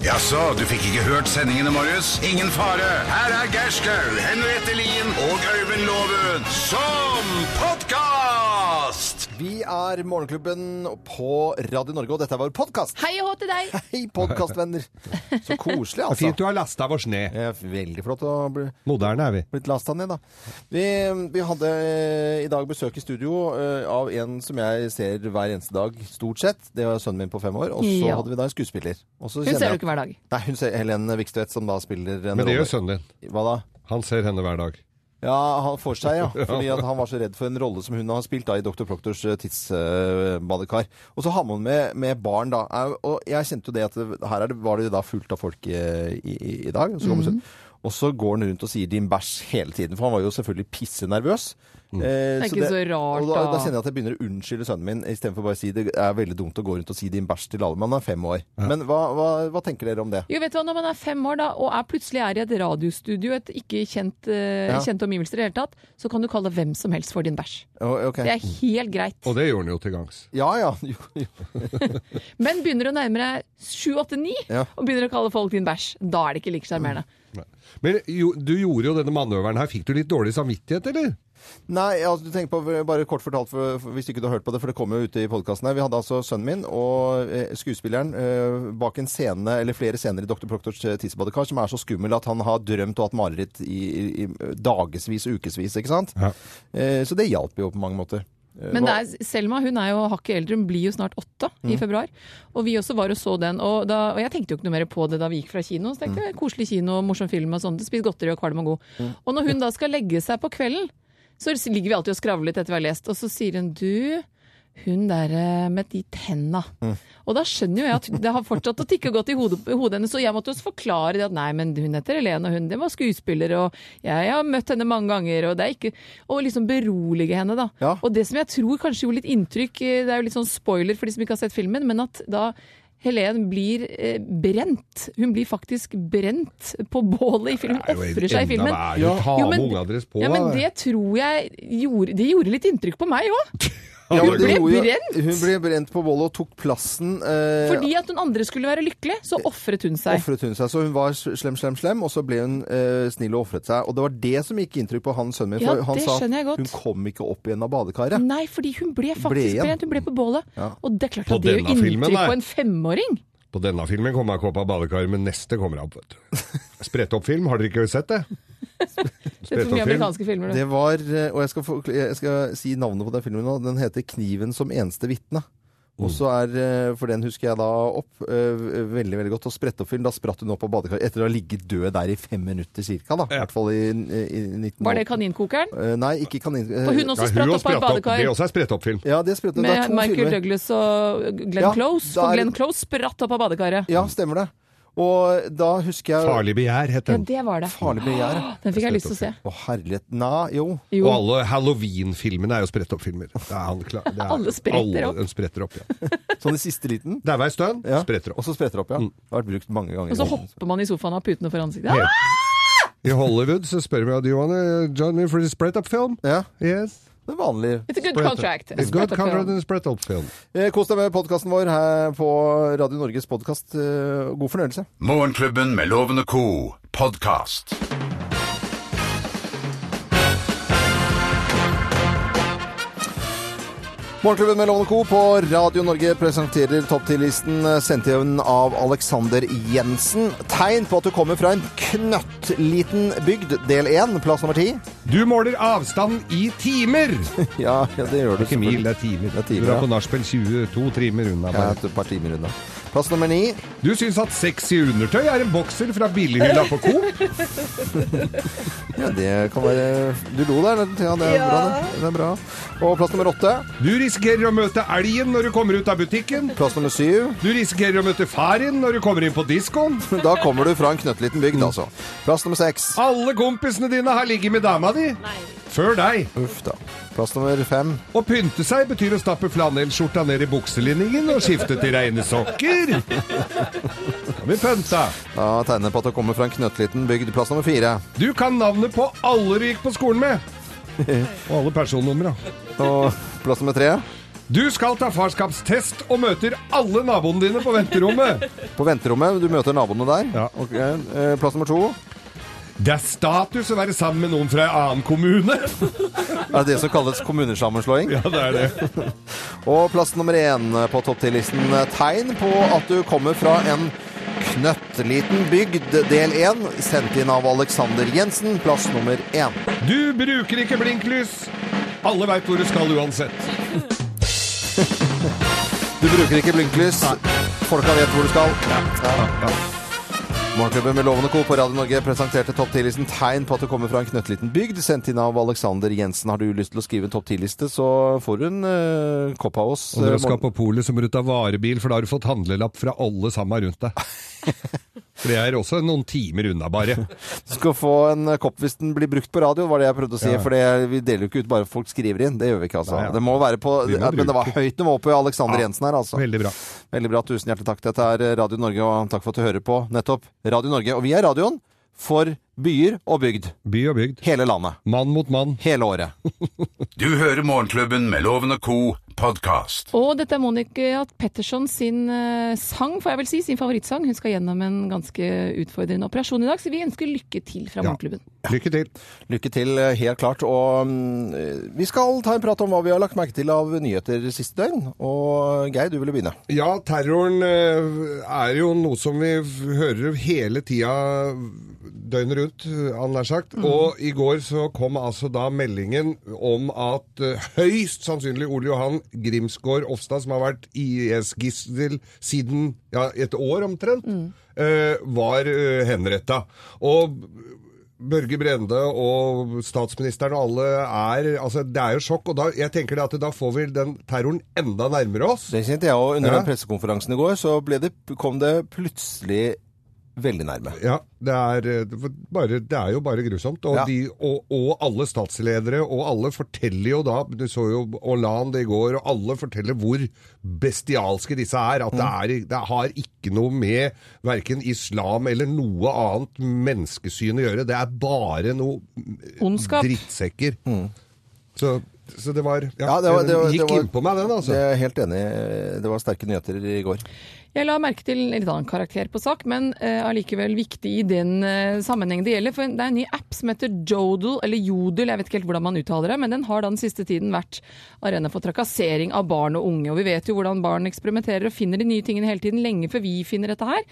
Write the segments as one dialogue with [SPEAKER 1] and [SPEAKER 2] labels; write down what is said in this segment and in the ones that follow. [SPEAKER 1] Jaså, du fikk ikke hørt sendingene, Marius? Ingen fare. Her er Gerskaug, Henriette Lien og Øyvind Låven som podkast!
[SPEAKER 2] Vi er Morgenklubben på Radio Norge, og dette er vår podkast.
[SPEAKER 3] Hei og hå til deg!
[SPEAKER 2] Hei, podkastvenner! Så koselig,
[SPEAKER 4] Det er fint
[SPEAKER 2] altså.
[SPEAKER 4] du har lasta oss ned.
[SPEAKER 2] Det er veldig flott å bli
[SPEAKER 4] Moderne er vi.
[SPEAKER 2] blitt lasta ned, da. Vi, vi hadde eh, i dag besøk i studio eh, av en som jeg ser hver eneste dag, stort sett. Det var sønnen min på fem år. Og så
[SPEAKER 3] Ja.
[SPEAKER 2] hadde vi da en skuespiller. Og så
[SPEAKER 3] Hun
[SPEAKER 2] kjenner
[SPEAKER 3] ser
[SPEAKER 2] jeg-
[SPEAKER 3] du ikke hver dag.
[SPEAKER 2] Nei, hun ser Helen Vikstvedt, som da spiller en
[SPEAKER 4] Men det
[SPEAKER 2] rolle.
[SPEAKER 4] gjør sønnen din.
[SPEAKER 2] Hva da?
[SPEAKER 4] Han ser henne hver dag.
[SPEAKER 2] Ja, han får seg, ja. Fordi at han var så redd for en rolle som hun har spilt da i Dr. Proktors eh, tidsbadekar. og så har man med, med barn, da. Er- Og jeg kjente jo det at det, her er det, var det jo da fullt av folk eh, i, i, i dag. Og så, kommer hun- og så går han rundt og sier 'din bæsj' hele tiden, for han var jo selvfølgelig pissenervøs. Eh,
[SPEAKER 3] Det er ikke så rart,
[SPEAKER 2] og da,
[SPEAKER 3] da.
[SPEAKER 2] da kjenner jeg at jeg begynner å unnskylde sønnen min, istedenfor bare å si det er veldig dumt å gå rundt og si 'din bæsj' til alle. Man er fem år. Men hva, hva, hva tenker dere om det?
[SPEAKER 3] Jo, vet du hva, Når man er fem år da, og er plutselig er i et radiostudio, et ikke kjent, eh,
[SPEAKER 2] Ja.
[SPEAKER 3] kjente omgivelser i det hele tatt, så kan du kalle hvem som helst for din bæsj.
[SPEAKER 2] Å, ok.
[SPEAKER 3] Det er helt greit.
[SPEAKER 4] Og det gjorde han jo til gangs.
[SPEAKER 2] Ja ja. Jo, jo.
[SPEAKER 3] Men begynner du å nærme deg sju, åtte, ni,
[SPEAKER 2] Ja.
[SPEAKER 3] og begynner å kalle folk din bæsj, da er det ikke like sjarmerende.
[SPEAKER 4] Nei. Men jo, du gjorde jo denne manøveren her. Fikk du litt dårlig samvittighet, eller?
[SPEAKER 2] Nei, altså, du tenker på, bare kort fortalt, for, for, hvis ikke du har hørt på det, for det kommer jo ute i podkasten her. Vi hadde altså sønnen min og eh, skuespilleren eh, bak en scene, eller flere scener i Dr. Proktors eh, tissebadekar som er så skummel at han har drømt og hatt mareritt i, i, i dagevis, ukevis, ikke sant?
[SPEAKER 4] Ja.
[SPEAKER 2] Eh, så det hjalp jo på mange måter. Eh,
[SPEAKER 3] Men det
[SPEAKER 2] hva- Mm.
[SPEAKER 3] er, Selma hun er jo hakket eldre, hun blir jo snart åtte i februar. Og vi også var og så den. Og, da, og jeg tenkte jo ikke noe mer på det da vi gikk fra kino.
[SPEAKER 2] Mm.
[SPEAKER 3] Så tenkte jeg, Koselig kino, morsom film og sånt. Spis godteri og kvalm og god. Og når hun da skal legge seg på kvelden, så ligger vi alltid og skravler litt etter vi har lest. Og så sier hun du, hun der eh, med de tenna.
[SPEAKER 2] Mm.
[SPEAKER 3] Og da skjønner jo jeg at det har fortsatt å tikke godt i hodet, i hodet hennes. Og jeg måtte også forklare det at nei, men hun heter Helene, og hun det var skuespiller, og jeg, har møtt henne mange ganger, og det er ikke Og liksom berolige henne, da.
[SPEAKER 2] Ja.
[SPEAKER 3] Og det som jeg tror kanskje gjorde litt inntrykk, eh, det er jo litt sånn spoiler for de som ikke har sett filmen, men at da Helen blir eh, brent. Hun blir faktisk brent på bålet i filmen.
[SPEAKER 4] Det er jo en-
[SPEAKER 3] Ofrer seg i
[SPEAKER 4] enda
[SPEAKER 3] filmen.
[SPEAKER 4] verre. Ja. Ta
[SPEAKER 3] Jo,
[SPEAKER 4] med
[SPEAKER 3] men-
[SPEAKER 4] unga deres på.
[SPEAKER 3] Ja, men
[SPEAKER 4] da.
[SPEAKER 3] det tror jeg gjorde, det gjorde litt inntrykk på meg òg.
[SPEAKER 2] Ja, men
[SPEAKER 3] hun
[SPEAKER 2] det
[SPEAKER 3] ble
[SPEAKER 2] gjorde jo-
[SPEAKER 3] brent.
[SPEAKER 2] Hun ble brent på bollet og tok plassen. Eh,
[SPEAKER 3] Fordi at hun andre skulle være lykkelig, så ofret hun seg.
[SPEAKER 2] Ofret hun seg, så hun var slem, slem, slem, og så ble hun eh, snill og ofret seg. Og det var det som gikk inntrykk på han sønnen min.
[SPEAKER 3] Ja,
[SPEAKER 2] For han
[SPEAKER 3] det
[SPEAKER 2] sa
[SPEAKER 3] skjønner jeg godt.
[SPEAKER 2] hun kom ikke opp igjen av badekaret.
[SPEAKER 3] Nei, fordi hun ble faktisk
[SPEAKER 2] igjen.
[SPEAKER 3] brent. Hun ble på bålet.
[SPEAKER 2] Ja.
[SPEAKER 3] Og det er klart
[SPEAKER 4] På
[SPEAKER 3] at det gjør
[SPEAKER 4] denne filmen,
[SPEAKER 3] inntrykk
[SPEAKER 4] nei.
[SPEAKER 3] på en femåring.
[SPEAKER 4] På denne filmen kommer jeg ikke opp av badekaret, men neste kommer jeg opp, vet du. Spredt opp film, har dere ikke sett det?
[SPEAKER 3] Det er
[SPEAKER 4] Spredt
[SPEAKER 3] for mye
[SPEAKER 4] opp film.
[SPEAKER 3] amerikanske filmer. Det.
[SPEAKER 2] Det var, eh, og jeg skal, forkl- jeg skal si navnet på den filmen nå, den heter 'Kniven som eneste vitne'. Og så er, eh, for den husker jeg da opp eh, veldig veldig godt. Og sprett opp film, da spratt hun opp av badekaret etter å ha ligget død der i fem minutter cirka. Da. I
[SPEAKER 4] Ja.
[SPEAKER 2] hvert fall i, i 19
[SPEAKER 3] Var det Kaninkokeren?
[SPEAKER 2] Eh, Nei, ikke kanin... eh,
[SPEAKER 3] For hun også
[SPEAKER 4] Ja,
[SPEAKER 3] spratt
[SPEAKER 4] hun
[SPEAKER 3] opp av
[SPEAKER 4] har
[SPEAKER 3] et
[SPEAKER 4] spredt opp.
[SPEAKER 3] badekar.
[SPEAKER 4] Det også er spredt opp film.
[SPEAKER 2] Ja, det sprettet. Det er
[SPEAKER 3] Med
[SPEAKER 2] to
[SPEAKER 3] Michael
[SPEAKER 2] filmer.
[SPEAKER 3] Douglas og Glenn
[SPEAKER 2] Ja,
[SPEAKER 3] Close.
[SPEAKER 2] da er-
[SPEAKER 3] For Glenn Close spratt opp av badekaret.
[SPEAKER 2] Ja, stemmer det. Og da husker jeg
[SPEAKER 4] Farlig begjær het
[SPEAKER 3] Ja,
[SPEAKER 4] den.
[SPEAKER 3] det var det.
[SPEAKER 2] Farlig begjær. ja.
[SPEAKER 3] Den fikk jeg lyst til å se.
[SPEAKER 2] Å, herlighet. Na, jo.
[SPEAKER 3] Jo.
[SPEAKER 4] Og alle Halloween-filmene er jo spredt opp filmer. Det er han klar, det er,
[SPEAKER 3] Alle spretter opp.
[SPEAKER 4] alle spretter opp, ja.
[SPEAKER 2] Sånn i siste liten.
[SPEAKER 4] Det er hver stund,
[SPEAKER 2] Ja.
[SPEAKER 4] spretter
[SPEAKER 2] Og
[SPEAKER 4] opp. Mm.
[SPEAKER 2] så spretter det opp, ja. Det har vært brukt mange ganger.
[SPEAKER 3] Og så hopper man i sofaen og har putene for ansiktet.
[SPEAKER 4] Helt-
[SPEAKER 3] Ah!
[SPEAKER 4] I Hollywood så spør vi om du vil Johnny for the spread up film.
[SPEAKER 2] Ja,
[SPEAKER 4] Yes.
[SPEAKER 2] det er vanlig.
[SPEAKER 3] It's a good
[SPEAKER 4] Spread up.
[SPEAKER 3] contract.
[SPEAKER 4] It's
[SPEAKER 3] Spratt
[SPEAKER 4] good
[SPEAKER 3] opp
[SPEAKER 4] contract
[SPEAKER 3] av-
[SPEAKER 4] and spread up film.
[SPEAKER 2] Eh, Kos deg med podkasten vår her på Radio Norges podkast. God fornøyelse.
[SPEAKER 1] Morgenklubben med Loven og Co. podkast.
[SPEAKER 2] Morgenklubben med Lovende Co. på Radio Norge presenterer topp 10-listen eh, sendt igjen av Alexander Jensen. Tegn på at du kommer fra en knøttliten bygd. Del 1, plass nummer 10.
[SPEAKER 4] Du måler avstanden i timer!
[SPEAKER 2] Ja, ja, det gjør du.
[SPEAKER 4] Ikke mil, det er timer.
[SPEAKER 2] Det er timer,
[SPEAKER 4] du
[SPEAKER 2] ja.
[SPEAKER 4] er på nachspiel 22 timer unna.
[SPEAKER 2] Ja,
[SPEAKER 4] Bare.
[SPEAKER 2] et par timer unna. Plass nummer 9.
[SPEAKER 4] Du syns at sexy undertøy er en bokser fra billighylla på Coop?
[SPEAKER 2] Ja, det kan være Du lo der, Thea. Det er bra, det. det er bra. Og plass nummer åtte.
[SPEAKER 4] Du risikerer å møte elgen når du kommer ut av butikken.
[SPEAKER 2] Plass nummer syv.
[SPEAKER 4] Du risikerer å møte faren når du kommer inn på diskoen.
[SPEAKER 2] Da kommer du fra en knøttliten bygd, altså. Plass nummer seks.
[SPEAKER 4] Alle kompisene dine har ligget med dama di. Før deg.
[SPEAKER 2] Uff da. Plass nummer fem.
[SPEAKER 4] Å pynte seg betyr å stappe flanellskjorta ned i bukselinningen og skifte til reine sokker. Da har vi pynta.
[SPEAKER 2] Da tegner jeg på at du kommer fra en knøttliten bygd. Plass nummer fire.
[SPEAKER 4] Du kan navnet på alle du gikk på skolen med. Og alle personnumra.
[SPEAKER 2] Og plass nummer tre.
[SPEAKER 4] Du skal ta farskapstest og møter alle naboene dine på venterommet.
[SPEAKER 2] På venterommet, du møter naboene der.
[SPEAKER 4] Ja.
[SPEAKER 2] Ok, eh, Plass nummer to.
[SPEAKER 4] Det er status å være sammen med noen fra en annen kommune.
[SPEAKER 2] Er det det som kalles kommunesammenslåing?
[SPEAKER 4] Ja, det er det.
[SPEAKER 2] Og plass nummer én på topp 10-listen. Tegn på at du kommer fra en knøttliten bygd, del én. Sendt inn av Alexander Jensen. Plass nummer én.
[SPEAKER 4] Du bruker ikke blinklys. Alle veit hvor du skal uansett.
[SPEAKER 2] Du bruker ikke blinklys. Folka vet hvor du skal. Ja. Morgenklubben med Lovende Co. på Radio Norge presenterte topp 10-listen tegn på at du kommer fra en knøttliten bygd. Sendt inn av Alexander Jensen. Har du lyst til å skrive en topp 10-liste, så får du en eh, kopp av oss.
[SPEAKER 4] Og når
[SPEAKER 2] eh,
[SPEAKER 4] du skal på polet, så må du ta varebil, for da har du fått handlelapp fra alle sammen rundt deg. For det er også noen timer unna, bare.
[SPEAKER 2] Du skal få en eh, kopp hvis den blir brukt på radio, var det jeg prøvde å si.
[SPEAKER 4] Ja.
[SPEAKER 2] For det, vi deler jo ikke ut bare folk skriver inn. Det gjør vi ikke, altså.
[SPEAKER 4] Nei, ja.
[SPEAKER 2] Det må være på,
[SPEAKER 4] Vi må
[SPEAKER 2] men det var
[SPEAKER 4] bruke.
[SPEAKER 2] høyt nivå på Alexander
[SPEAKER 4] Ja.
[SPEAKER 2] Jensen her, altså.
[SPEAKER 4] Veldig bra.
[SPEAKER 2] Veldig bra. Tusen hjertelig takk. Dette er eh, Radio Norge, og takk for at du hører på nettopp Radio Norge. Og vi er radioen for byer og bygd.
[SPEAKER 4] By og bygd.
[SPEAKER 2] Hele landet.
[SPEAKER 4] Mann mot mann.
[SPEAKER 2] Hele året.
[SPEAKER 1] Du hører Morgenklubben med Loven og Co. podkast.
[SPEAKER 3] Og dette er Monica Petterson sin eh, sang, får jeg vel si, sin favorittsang. Hun skal gjennom en ganske utfordrende operasjon i dag, så vi ønsker lykke til fra
[SPEAKER 4] Ja.
[SPEAKER 3] Morgenklubben.
[SPEAKER 4] Lykke til.
[SPEAKER 2] Lykke til, eh, helt klart. Og mm, eh, vi skal ta en prat om hva vi har lagt merke til av nyheter siste døgn. Og Geir, du ville begynne.
[SPEAKER 4] Ja, terroren eh, er jo noe som vi f- hører hele tida døgnet rundt, han nær sagt. Og i går så kom altså da meldingen om at eh, høyst sannsynlig Ole Johan Grimsgaard Ofstad, som har vært IS-gissel siden ja, et år omtrent, eh, var eh, henretta. Og Børge Brende og statsministeren og alle er Altså, det er jo sjokk. Og da, jeg tenker det at da får vi den terroren enda nærmere oss.
[SPEAKER 2] Det kjente jeg òg. Under
[SPEAKER 4] Ja.
[SPEAKER 2] den pressekonferansen i går så ble det, kom det plutselig veldig nærme.
[SPEAKER 4] Ja, det er, eh, bare, det er jo bare grusomt. Og,
[SPEAKER 2] Ja.
[SPEAKER 4] de, og, og alle statsledere og alle forteller jo da Du så jo Hollande i går, og alle forteller hvor bestialske disse er. At det,
[SPEAKER 2] Mm.
[SPEAKER 4] er, det har ikke noe med verken islam eller noe annet menneskesyn å gjøre. Det er bare noe mm,
[SPEAKER 3] Ondskap.
[SPEAKER 4] drittsekker. Så, så det var
[SPEAKER 2] Mm. Ja,
[SPEAKER 4] Ja,
[SPEAKER 2] det var- det var-
[SPEAKER 4] den
[SPEAKER 2] det
[SPEAKER 4] gikk
[SPEAKER 2] var-
[SPEAKER 4] innpå meg, den, altså.
[SPEAKER 2] Jeg er helt enig. Det var sterke nyheter i går.
[SPEAKER 3] Jeg la merke til en litt annen karakter på sak, men eh, allikevel viktig i den eh, sammenheng det gjelder. For det er en ny app som heter Jodel, eller Jodel, jeg vet ikke helt hvordan man uttaler det. Men den har da den siste tiden vært arena for trakassering av barn og unge. Og vi vet jo hvordan barn eksperimenterer og finner de nye tingene hele tiden, lenge før vi finner dette her.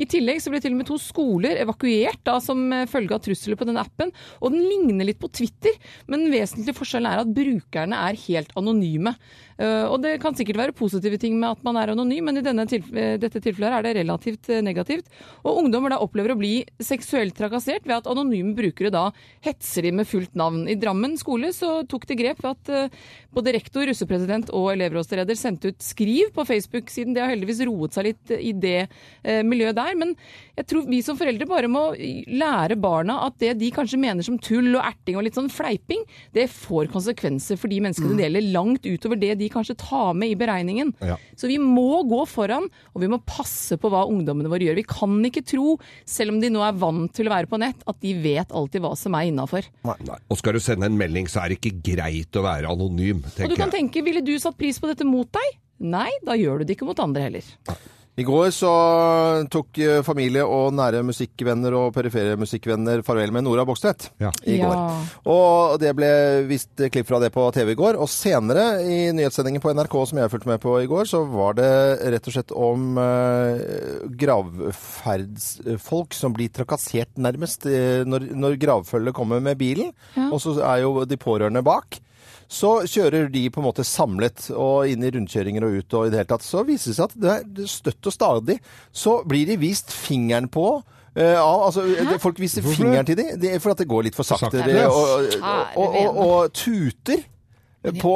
[SPEAKER 3] I tillegg så ble til og med to skoler evakuert da, som eh, følge av trusler på denne appen. Og den ligner litt på Twitter, men den vesentlige forskjellen er at brukerne er helt anonyme. Eh, og det kan sikkert være positive ting med at man er anonym, men i denne tilf eh, dette tilfellet er det relativt eh, negativt. Og ungdommer da opplever å bli seksuelt trakassert ved at anonyme brukere da hetser de med fullt navn. I Drammen skole så tok det grep ved at eh, både rektor, russepresident og elevrådsleder sendte ut skriv på Facebook-siden. Det har heldigvis roet seg litt eh, i det eh, miljøet der. Men jeg tror vi som foreldre bare må eh, lære barna at det de kanskje mener som tull og erting og litt sånn fleiping, det får konsekvenser for de menneskene det gjelder, langt utover det de kanskje tar med i beregningen.
[SPEAKER 4] Mm. Ja.
[SPEAKER 3] Så vi må gå foran, og vi må passe på hva ungdommene våre gjør. Vi kan ikke tro, selv om de nå er vant til å være på nett, at de vet alltid hva som er innafor.
[SPEAKER 4] Nei. Og skal du sende en melding, så er det ikke greit å være
[SPEAKER 3] Og
[SPEAKER 4] anonym,
[SPEAKER 3] du
[SPEAKER 4] tenker
[SPEAKER 3] kan
[SPEAKER 4] jeg.
[SPEAKER 3] tenke, ville du satt pris på dette mot deg? Nei, da gjør du det ikke mot andre heller.
[SPEAKER 2] I går så tok eh, familie og nære musikkvenner og perifere musikkvenner farvel med Nora Bogstvedt.
[SPEAKER 4] Ja.
[SPEAKER 2] I går.
[SPEAKER 3] Ja.
[SPEAKER 2] Og det ble vist klipp fra det på TV i går. Og senere i nyhetssendingen på NRK som jeg fulgte med på i går, så var det rett og slett om eh, gravferdsfolk som blir trakassert nærmest eh, når, når gravfølget kommer med bilen. Og så er jo de pårørende bak. Så kjører de på en måte samlet og inn i rundkjøringer og ut og i det hele tatt. Så viser det seg at det er støtt og stadig så blir de vist fingeren på. eh, av, altså, det- folk viser
[SPEAKER 4] Hvorfor det?
[SPEAKER 2] fingeren til dem. Det er fordi at det går litt for sakte.
[SPEAKER 4] sakte.
[SPEAKER 2] Det, og,
[SPEAKER 3] Kjære
[SPEAKER 2] og, og, og tuter på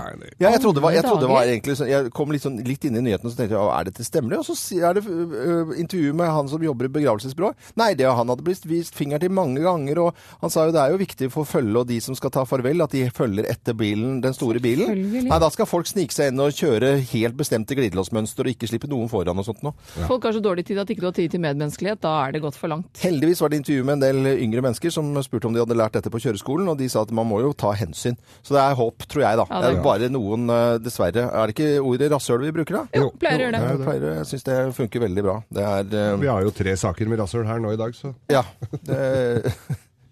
[SPEAKER 2] ja, jeg trodde det var, jeg trodde det var egentlig sånn Jeg kom litt, sånn, litt inn i nyhetene og så tenkte jeg, «Å, er dette stemmelig? Og så si- er det øh, intervju med han som jobber i begravelsesbyrå. Nei, det han hadde blitt vist fingeren til mange ganger, og han sa jo det er jo viktig for følge og de som skal ta farvel, at de følger etter bilen, den store bilen.
[SPEAKER 3] Selvfølgelig.
[SPEAKER 2] Nei, da skal folk snike seg inn og kjøre helt bestemte glidelåsmønster og ikke slippe noen foran og sånt noe.
[SPEAKER 3] Folk har så dårlig tid at ikke du har tid til medmenneskelighet. Da er det gått for langt.
[SPEAKER 2] Heldigvis var det intervju med en del yngre mennesker som spurte om de hadde lært dette på kjøreskolen, og de sa at man må jo ta hensyn. Så det er håp tror jeg, da.
[SPEAKER 3] Ja, det
[SPEAKER 2] det
[SPEAKER 3] er
[SPEAKER 2] er bare noen, eh, dessverre. Er det ikke ordet rasshøl vi bruker, da?
[SPEAKER 3] Jo, pleier å gjøre det.
[SPEAKER 2] Jeg pleier, jeg syns det funker veldig bra. Det er
[SPEAKER 4] Vi
[SPEAKER 2] eh,
[SPEAKER 4] har jo tre saker med rasshøl her nå i dag, så
[SPEAKER 2] Ja. Det,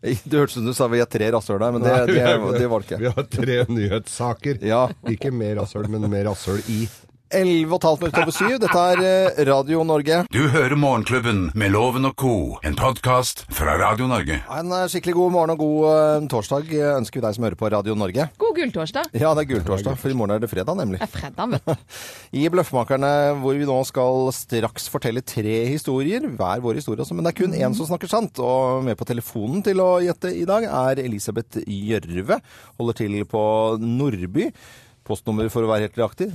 [SPEAKER 2] det hørtes ut som du sa vi er tre rasshøl her, men det, det, det, var det ikke.
[SPEAKER 4] Vi har tre nyhetssaker.
[SPEAKER 2] Ja.
[SPEAKER 4] Ikke med rasshøl, men med rasshøl i.
[SPEAKER 2] 11,5 minutter over syv. Dette er eh, Radio Norge.
[SPEAKER 1] Du hører Morgenklubben med Loven og Co. En podkast fra Radio Norge.
[SPEAKER 2] En eh, skikkelig god morgen og god eh, torsdag eh, ønsker vi deg som hører på Radio Norge.
[SPEAKER 3] God gulltorsdag.
[SPEAKER 2] Ja, det er gultorsdag, for i morgen er det fredag, nemlig.
[SPEAKER 3] Det er fredag, vet du.
[SPEAKER 2] I Bløffmakerne, hvor vi nå skal straks fortelle tre historier, hver vår historie også, men det er kun én som snakker sant. Og med på telefonen til å gjette i dag er Elisabeth Gjørve. Holder til på Nordby. Postnummer, for å være helt nøyaktig,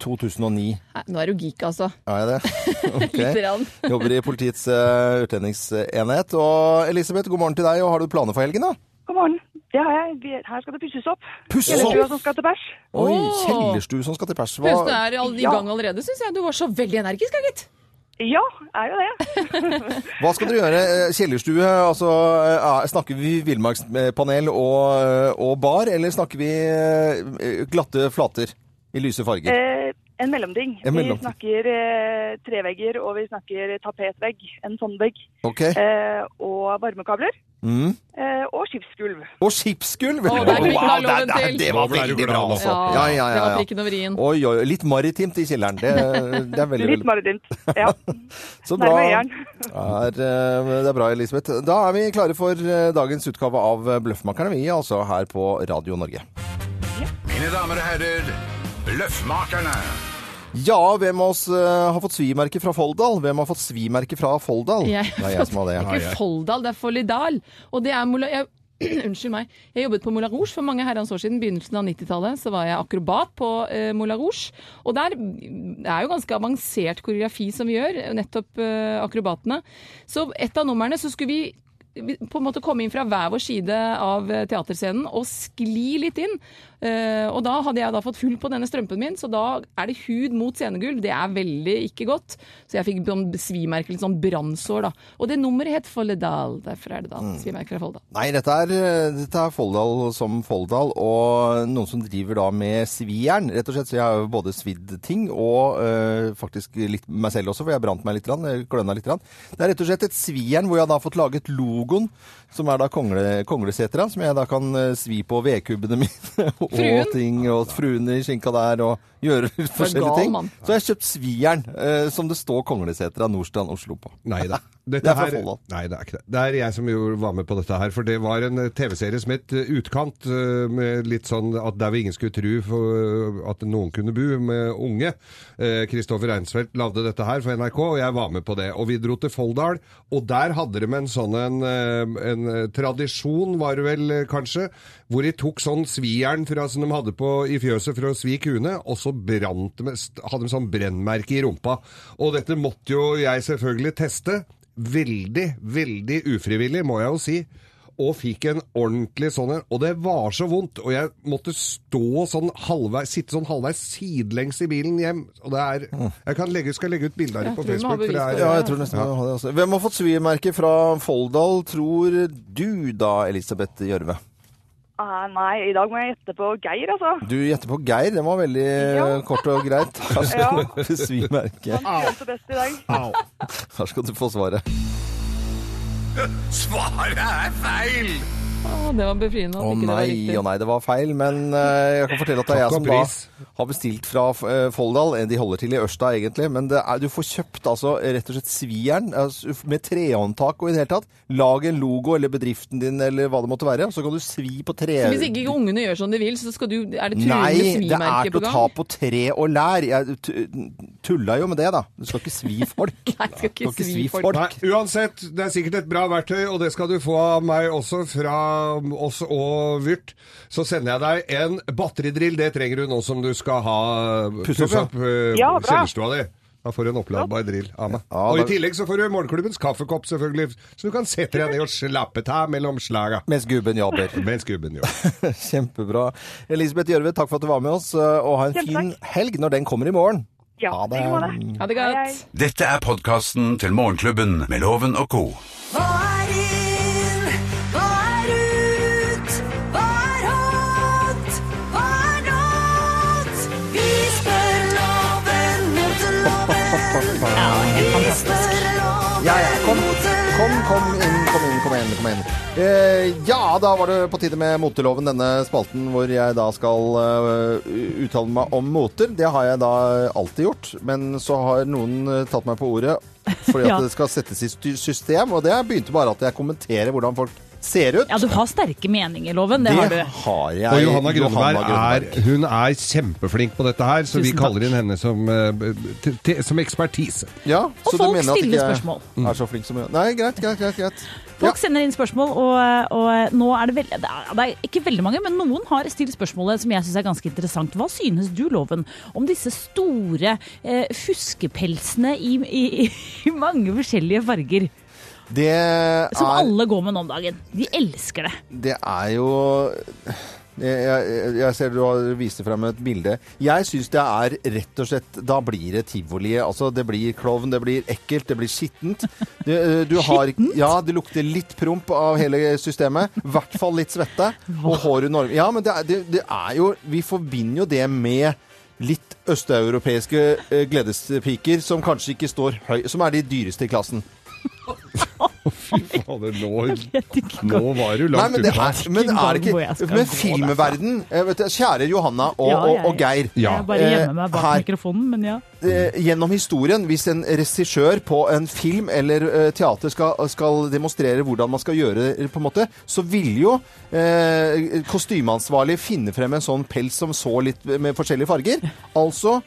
[SPEAKER 2] 2009.
[SPEAKER 3] Nei, Nå er du geek, altså.
[SPEAKER 2] Er jeg det? Ok.
[SPEAKER 3] Lite grann.
[SPEAKER 2] Jobber i politiets eh, utlendingsenhet. Og Elisabeth, god morgen til deg, og har du planer for helgen, da?
[SPEAKER 5] God morgen. Det har jeg. Vi- Her skal det pusses opp.
[SPEAKER 2] Pusses opp?
[SPEAKER 5] Kjellerstua som skal til bæsj.
[SPEAKER 2] Oi,
[SPEAKER 3] Åh!
[SPEAKER 2] kjellerstue som skal til pers.
[SPEAKER 3] Høres du
[SPEAKER 2] Hva-
[SPEAKER 3] er all- i
[SPEAKER 5] Ja.
[SPEAKER 3] gang allerede, syns jeg. Du var så veldig energisk, da, gitt.
[SPEAKER 5] Ja, er jo det.
[SPEAKER 2] Hva skal dere gjøre? Eh, Kjellerstue, altså eh, snakker vi villmarkspanel og, eh, og bar, eller snakker vi eh, glatte flater i lyse farger?
[SPEAKER 5] Eh, en mellomting.
[SPEAKER 2] En mellomting.
[SPEAKER 5] Vi snakker eh, trevegger, og vi snakker tapetvegg, en sånn vegg,
[SPEAKER 2] Ok.
[SPEAKER 5] eh, og varmekabler,
[SPEAKER 2] Mm.
[SPEAKER 5] eh, og skipsgulv.
[SPEAKER 2] Og skipsgulv!
[SPEAKER 3] Å, der fikk man loven
[SPEAKER 2] det,
[SPEAKER 3] til.
[SPEAKER 2] det var
[SPEAKER 4] Da ble du
[SPEAKER 2] veldig bra,
[SPEAKER 4] glad, altså.
[SPEAKER 2] altså. Ja, ja,
[SPEAKER 3] Det
[SPEAKER 2] ja.
[SPEAKER 3] var
[SPEAKER 2] ja.
[SPEAKER 3] prikken over i-en.
[SPEAKER 2] Oi, oi, litt maritimt i kjelleren. Det, det er veldig,
[SPEAKER 5] Litt
[SPEAKER 2] veldig
[SPEAKER 5] maritimt. Ja.
[SPEAKER 2] Så bra.
[SPEAKER 5] Nærme øyeren.
[SPEAKER 2] Er, eh, det er bra, Elisabeth. Da er vi klare for eh, dagens utgave av Bløffmakerne, vi, altså her på Radio Norge.
[SPEAKER 1] Mine damer og herrer, Bløffmakerne.
[SPEAKER 2] Ja, hvem av oss eh, har fått svimerke fra Folldal? Hvem har fått svimerke fra Folldal?
[SPEAKER 3] Jeg
[SPEAKER 2] Det er jeg som har det.
[SPEAKER 3] Det er ikke Folldal, det er Follidal. Og det er Mola... Jeg, unnskyld meg. Jeg jobbet på Moulin Rouge for mange herrens år siden. Begynnelsen av 90-tallet så var jeg akrobat på eh, Moulin Rouge. Og der det er jo ganske avansert koreografi som vi gjør, nettopp eh, akrobatene. Så et av numrene så skulle vi vi på en måte komme inn fra hver vår side av eh, teaterscenen og skli litt inn. Eh, og da hadde jeg da fått hull på denne strømpen min, så da er det hud mot scenegulv. Det er veldig ikke godt. Så jeg fikk sånn svimerke, litt sånn brannsår, da. Og det nummeret het Folledal. Derfor er det
[SPEAKER 2] Mm.
[SPEAKER 3] da svimerke fra Folldal.
[SPEAKER 2] Nei, dette er, eh, dette er Folldal som Folldal, og noen som driver da med svijern, rett og slett. Så jeg har jo både svidd ting, og eh, faktisk litt meg selv også, for jeg brant meg litt, grann, eh, kløna litt. Grann. Det er rett og slett et svijern hvor jeg da har fått laget logoen, som er da kongle, konglesetra, som jeg da kan eh, svi på vedkubbene mine, og
[SPEAKER 3] Fruen?
[SPEAKER 2] ting, og fruene i skinka der, og gjøre forskjellige
[SPEAKER 3] gal
[SPEAKER 2] ting.
[SPEAKER 3] mann.
[SPEAKER 2] Så jeg har kjøpt svijern, eh, som det står konglesetra Nordstrand Oslo på.
[SPEAKER 4] Nei da.
[SPEAKER 2] Det er fra Folldal.
[SPEAKER 4] Nei, det er ikke det. Det er jeg som jo var med på dette her. For det var en eh, TV-serie som het eh, Utkant. eh, Med litt sånn at der vi ingen skulle tru for eh, at noen kunne bo, med unge. Eh, Kristoffer Reinsfeldt lagde dette her for NRK, og jeg var med på det. Og vi dro til Folldal, og der hadde de en sånn en, eh, en eh, tradisjon, var det vel eh, kanskje, hvor de tok sånn svijern fra, som de hadde på, i fjøset for å svi kuene, og så brant de, hadde de sånn brennmerke i rumpa. Og dette måtte jo jeg selvfølgelig teste. Veldig, veldig ufrivillig, må jeg jo si. Og fikk en ordentlig sånn en, og det var så vondt. Og jeg måtte stå sånn halvveis, sitte sånn halvveis sidelengs i bilen hjem. Og det er Jeg kan legge, skal legge ut bilde av det
[SPEAKER 3] Jeg tror
[SPEAKER 4] på
[SPEAKER 3] vi må ha
[SPEAKER 4] Facebook.
[SPEAKER 3] bevis
[SPEAKER 4] For det
[SPEAKER 3] på
[SPEAKER 4] er,
[SPEAKER 2] Mm. Ja, jeg tror nesten vi har det også. Hvem har fått svimerke fra Folldal, tror du da, Elisabeth Gjørve?
[SPEAKER 5] Ah, nei, i dag må jeg gjette på Geir, altså.
[SPEAKER 2] Du gjetter på Geir, det var veldig eh,
[SPEAKER 5] Ja.
[SPEAKER 2] kort og greit. Her skal du få svimerke.
[SPEAKER 5] Han skjønte best i dag.
[SPEAKER 2] Her skal du få svaret.
[SPEAKER 1] Svaret er feil!
[SPEAKER 3] Å, det var befriende. at
[SPEAKER 2] Å
[SPEAKER 3] ikke det var
[SPEAKER 2] nei,
[SPEAKER 3] riktig.
[SPEAKER 2] å nei, det var feil, men eh, jeg kan fortelle at det er jeg
[SPEAKER 4] Takk
[SPEAKER 2] som
[SPEAKER 4] og
[SPEAKER 2] da
[SPEAKER 4] pris.
[SPEAKER 2] har bestilt fra eh, Folldal. De holder til i Ørsta egentlig, men det er, du får kjøpt altså rett og slett svijern altså, med trehåndtak og i det hele tatt. Lag en logo eller bedriften din eller hva det måtte være, og så kan du svi på tre...
[SPEAKER 3] Så hvis ikke ungene gjør som de vil, så skal du Er det truende
[SPEAKER 2] Nei, det er
[SPEAKER 3] svimerke
[SPEAKER 2] ikke
[SPEAKER 3] på
[SPEAKER 2] å
[SPEAKER 3] gang?
[SPEAKER 2] ta på tre og lær. Jeg tu- tulla jo med det, da. Du skal ikke svi folk.
[SPEAKER 3] Nei, skal
[SPEAKER 2] Du
[SPEAKER 3] ikke svi folk.
[SPEAKER 4] Nei, uansett, det er sikkert et bra verktøy, og det skal du få av meg også, fra oss og Vyrt. Så sender jeg deg en batteridrill, det trenger du nå som du skal ha
[SPEAKER 2] Pusse opp,
[SPEAKER 4] pusse opp eh,
[SPEAKER 5] Ja, bra.
[SPEAKER 4] kjellerstua di. Da får du en oppladbar drill av meg.
[SPEAKER 2] Ja,
[SPEAKER 4] og
[SPEAKER 2] da-
[SPEAKER 4] i tillegg så får du morgenklubbens kaffekopp, selvfølgelig, så du kan sette deg ned og slappe av mellom slaga.
[SPEAKER 2] Mens gubben jobber.
[SPEAKER 4] Mens gubben gjør
[SPEAKER 2] Kjempebra. Elisabeth Gjørve, takk for at du var med oss, eh, og ha en
[SPEAKER 5] Selv
[SPEAKER 2] fin helg når den kommer i morgen.
[SPEAKER 5] Ja,
[SPEAKER 2] Ha det.
[SPEAKER 5] tenk på det.
[SPEAKER 3] Ha det
[SPEAKER 5] Hei, hei.
[SPEAKER 3] godt.
[SPEAKER 1] Dette er podkasten til Morgenklubben med Loven og Co.
[SPEAKER 6] Hva er inn? Hva er ut? Hva er hot? Hva
[SPEAKER 2] Ja, ja. Kom, kom, kom inn, kom inn, kom inn. kom inn. Eh, ja, da var det på tide med moteloven, denne spalten hvor jeg da skal eh, uttale meg om moter. Det har jeg da alltid gjort, men så har noen eh, tatt meg på ordet fordi
[SPEAKER 6] Ja.
[SPEAKER 2] at det skal settes i sty- system, og det begynte bare at jeg kommenterer hvordan folk ser ut.
[SPEAKER 6] Ja, du har sterke meninger, Loven. Det har du.
[SPEAKER 2] har jeg.
[SPEAKER 4] Og Johanna Grønneberg
[SPEAKER 2] Grønneberg.
[SPEAKER 4] er, hun er kjempeflink på dette her, så vi
[SPEAKER 6] Tusen
[SPEAKER 4] kaller
[SPEAKER 6] takk.
[SPEAKER 4] inn henne som, eh, til- til- som ekspertise.
[SPEAKER 2] ja, så du
[SPEAKER 6] folk
[SPEAKER 2] mener at
[SPEAKER 6] stiller
[SPEAKER 2] ikke jeg
[SPEAKER 6] spørsmål.
[SPEAKER 2] Er så flink som jeg. Nei, greit, greit, greit. greit.
[SPEAKER 6] Folk sender inn spørsmål, og, og nå er det veldig det er, det er ikke veldig mange, men noen har stilt spørsmålet som jeg syns er ganske interessant. Hva synes du, Loven, om disse store eh, fuskepelsene i, i, i mange forskjellige farger?
[SPEAKER 2] Det
[SPEAKER 6] Som
[SPEAKER 2] er
[SPEAKER 6] alle går med nå om dagen. De elsker det.
[SPEAKER 2] Det er jo jeg, jeg, jeg ser du har viste frem et bilde. Jeg syns det er rett og slett Da blir det tivoli. Altså, det blir klovn, det blir ekkelt, det blir skittent. Du, eh, du har, ja, det lukter litt promp av hele systemet. I hvert fall litt svette. Og hår under armene. Ja, men det er, det, det er jo Vi forbinder jo det med litt østeuropeiske eh, gledespiker som kanskje ikke står høy Som er de dyreste i klassen.
[SPEAKER 4] Fader, nå,
[SPEAKER 6] vet ikke
[SPEAKER 4] nå var du
[SPEAKER 2] Nei,
[SPEAKER 4] langt
[SPEAKER 2] men det
[SPEAKER 4] unna.
[SPEAKER 2] er, men er det
[SPEAKER 6] Hvor jeg
[SPEAKER 2] ikke
[SPEAKER 6] skal
[SPEAKER 2] Men
[SPEAKER 6] gå altså.
[SPEAKER 2] filmverden eh, vet du, Kjære Johanna og,
[SPEAKER 6] Ja,
[SPEAKER 2] og,
[SPEAKER 6] jeg-
[SPEAKER 2] og Geir.
[SPEAKER 4] Ja.
[SPEAKER 6] Jeg bare gjemmer meg bak
[SPEAKER 2] Eh, her.
[SPEAKER 6] mikrofonen, men ja.
[SPEAKER 2] Eh, gjennom historien, hvis en regissør på en film eller eh, teater skal, skal demonstrere hvordan man skal gjøre det, på en måte, så ville jo eh, kostymeansvarlig finne frem en sånn pels som så litt med forskjellige farger. Altså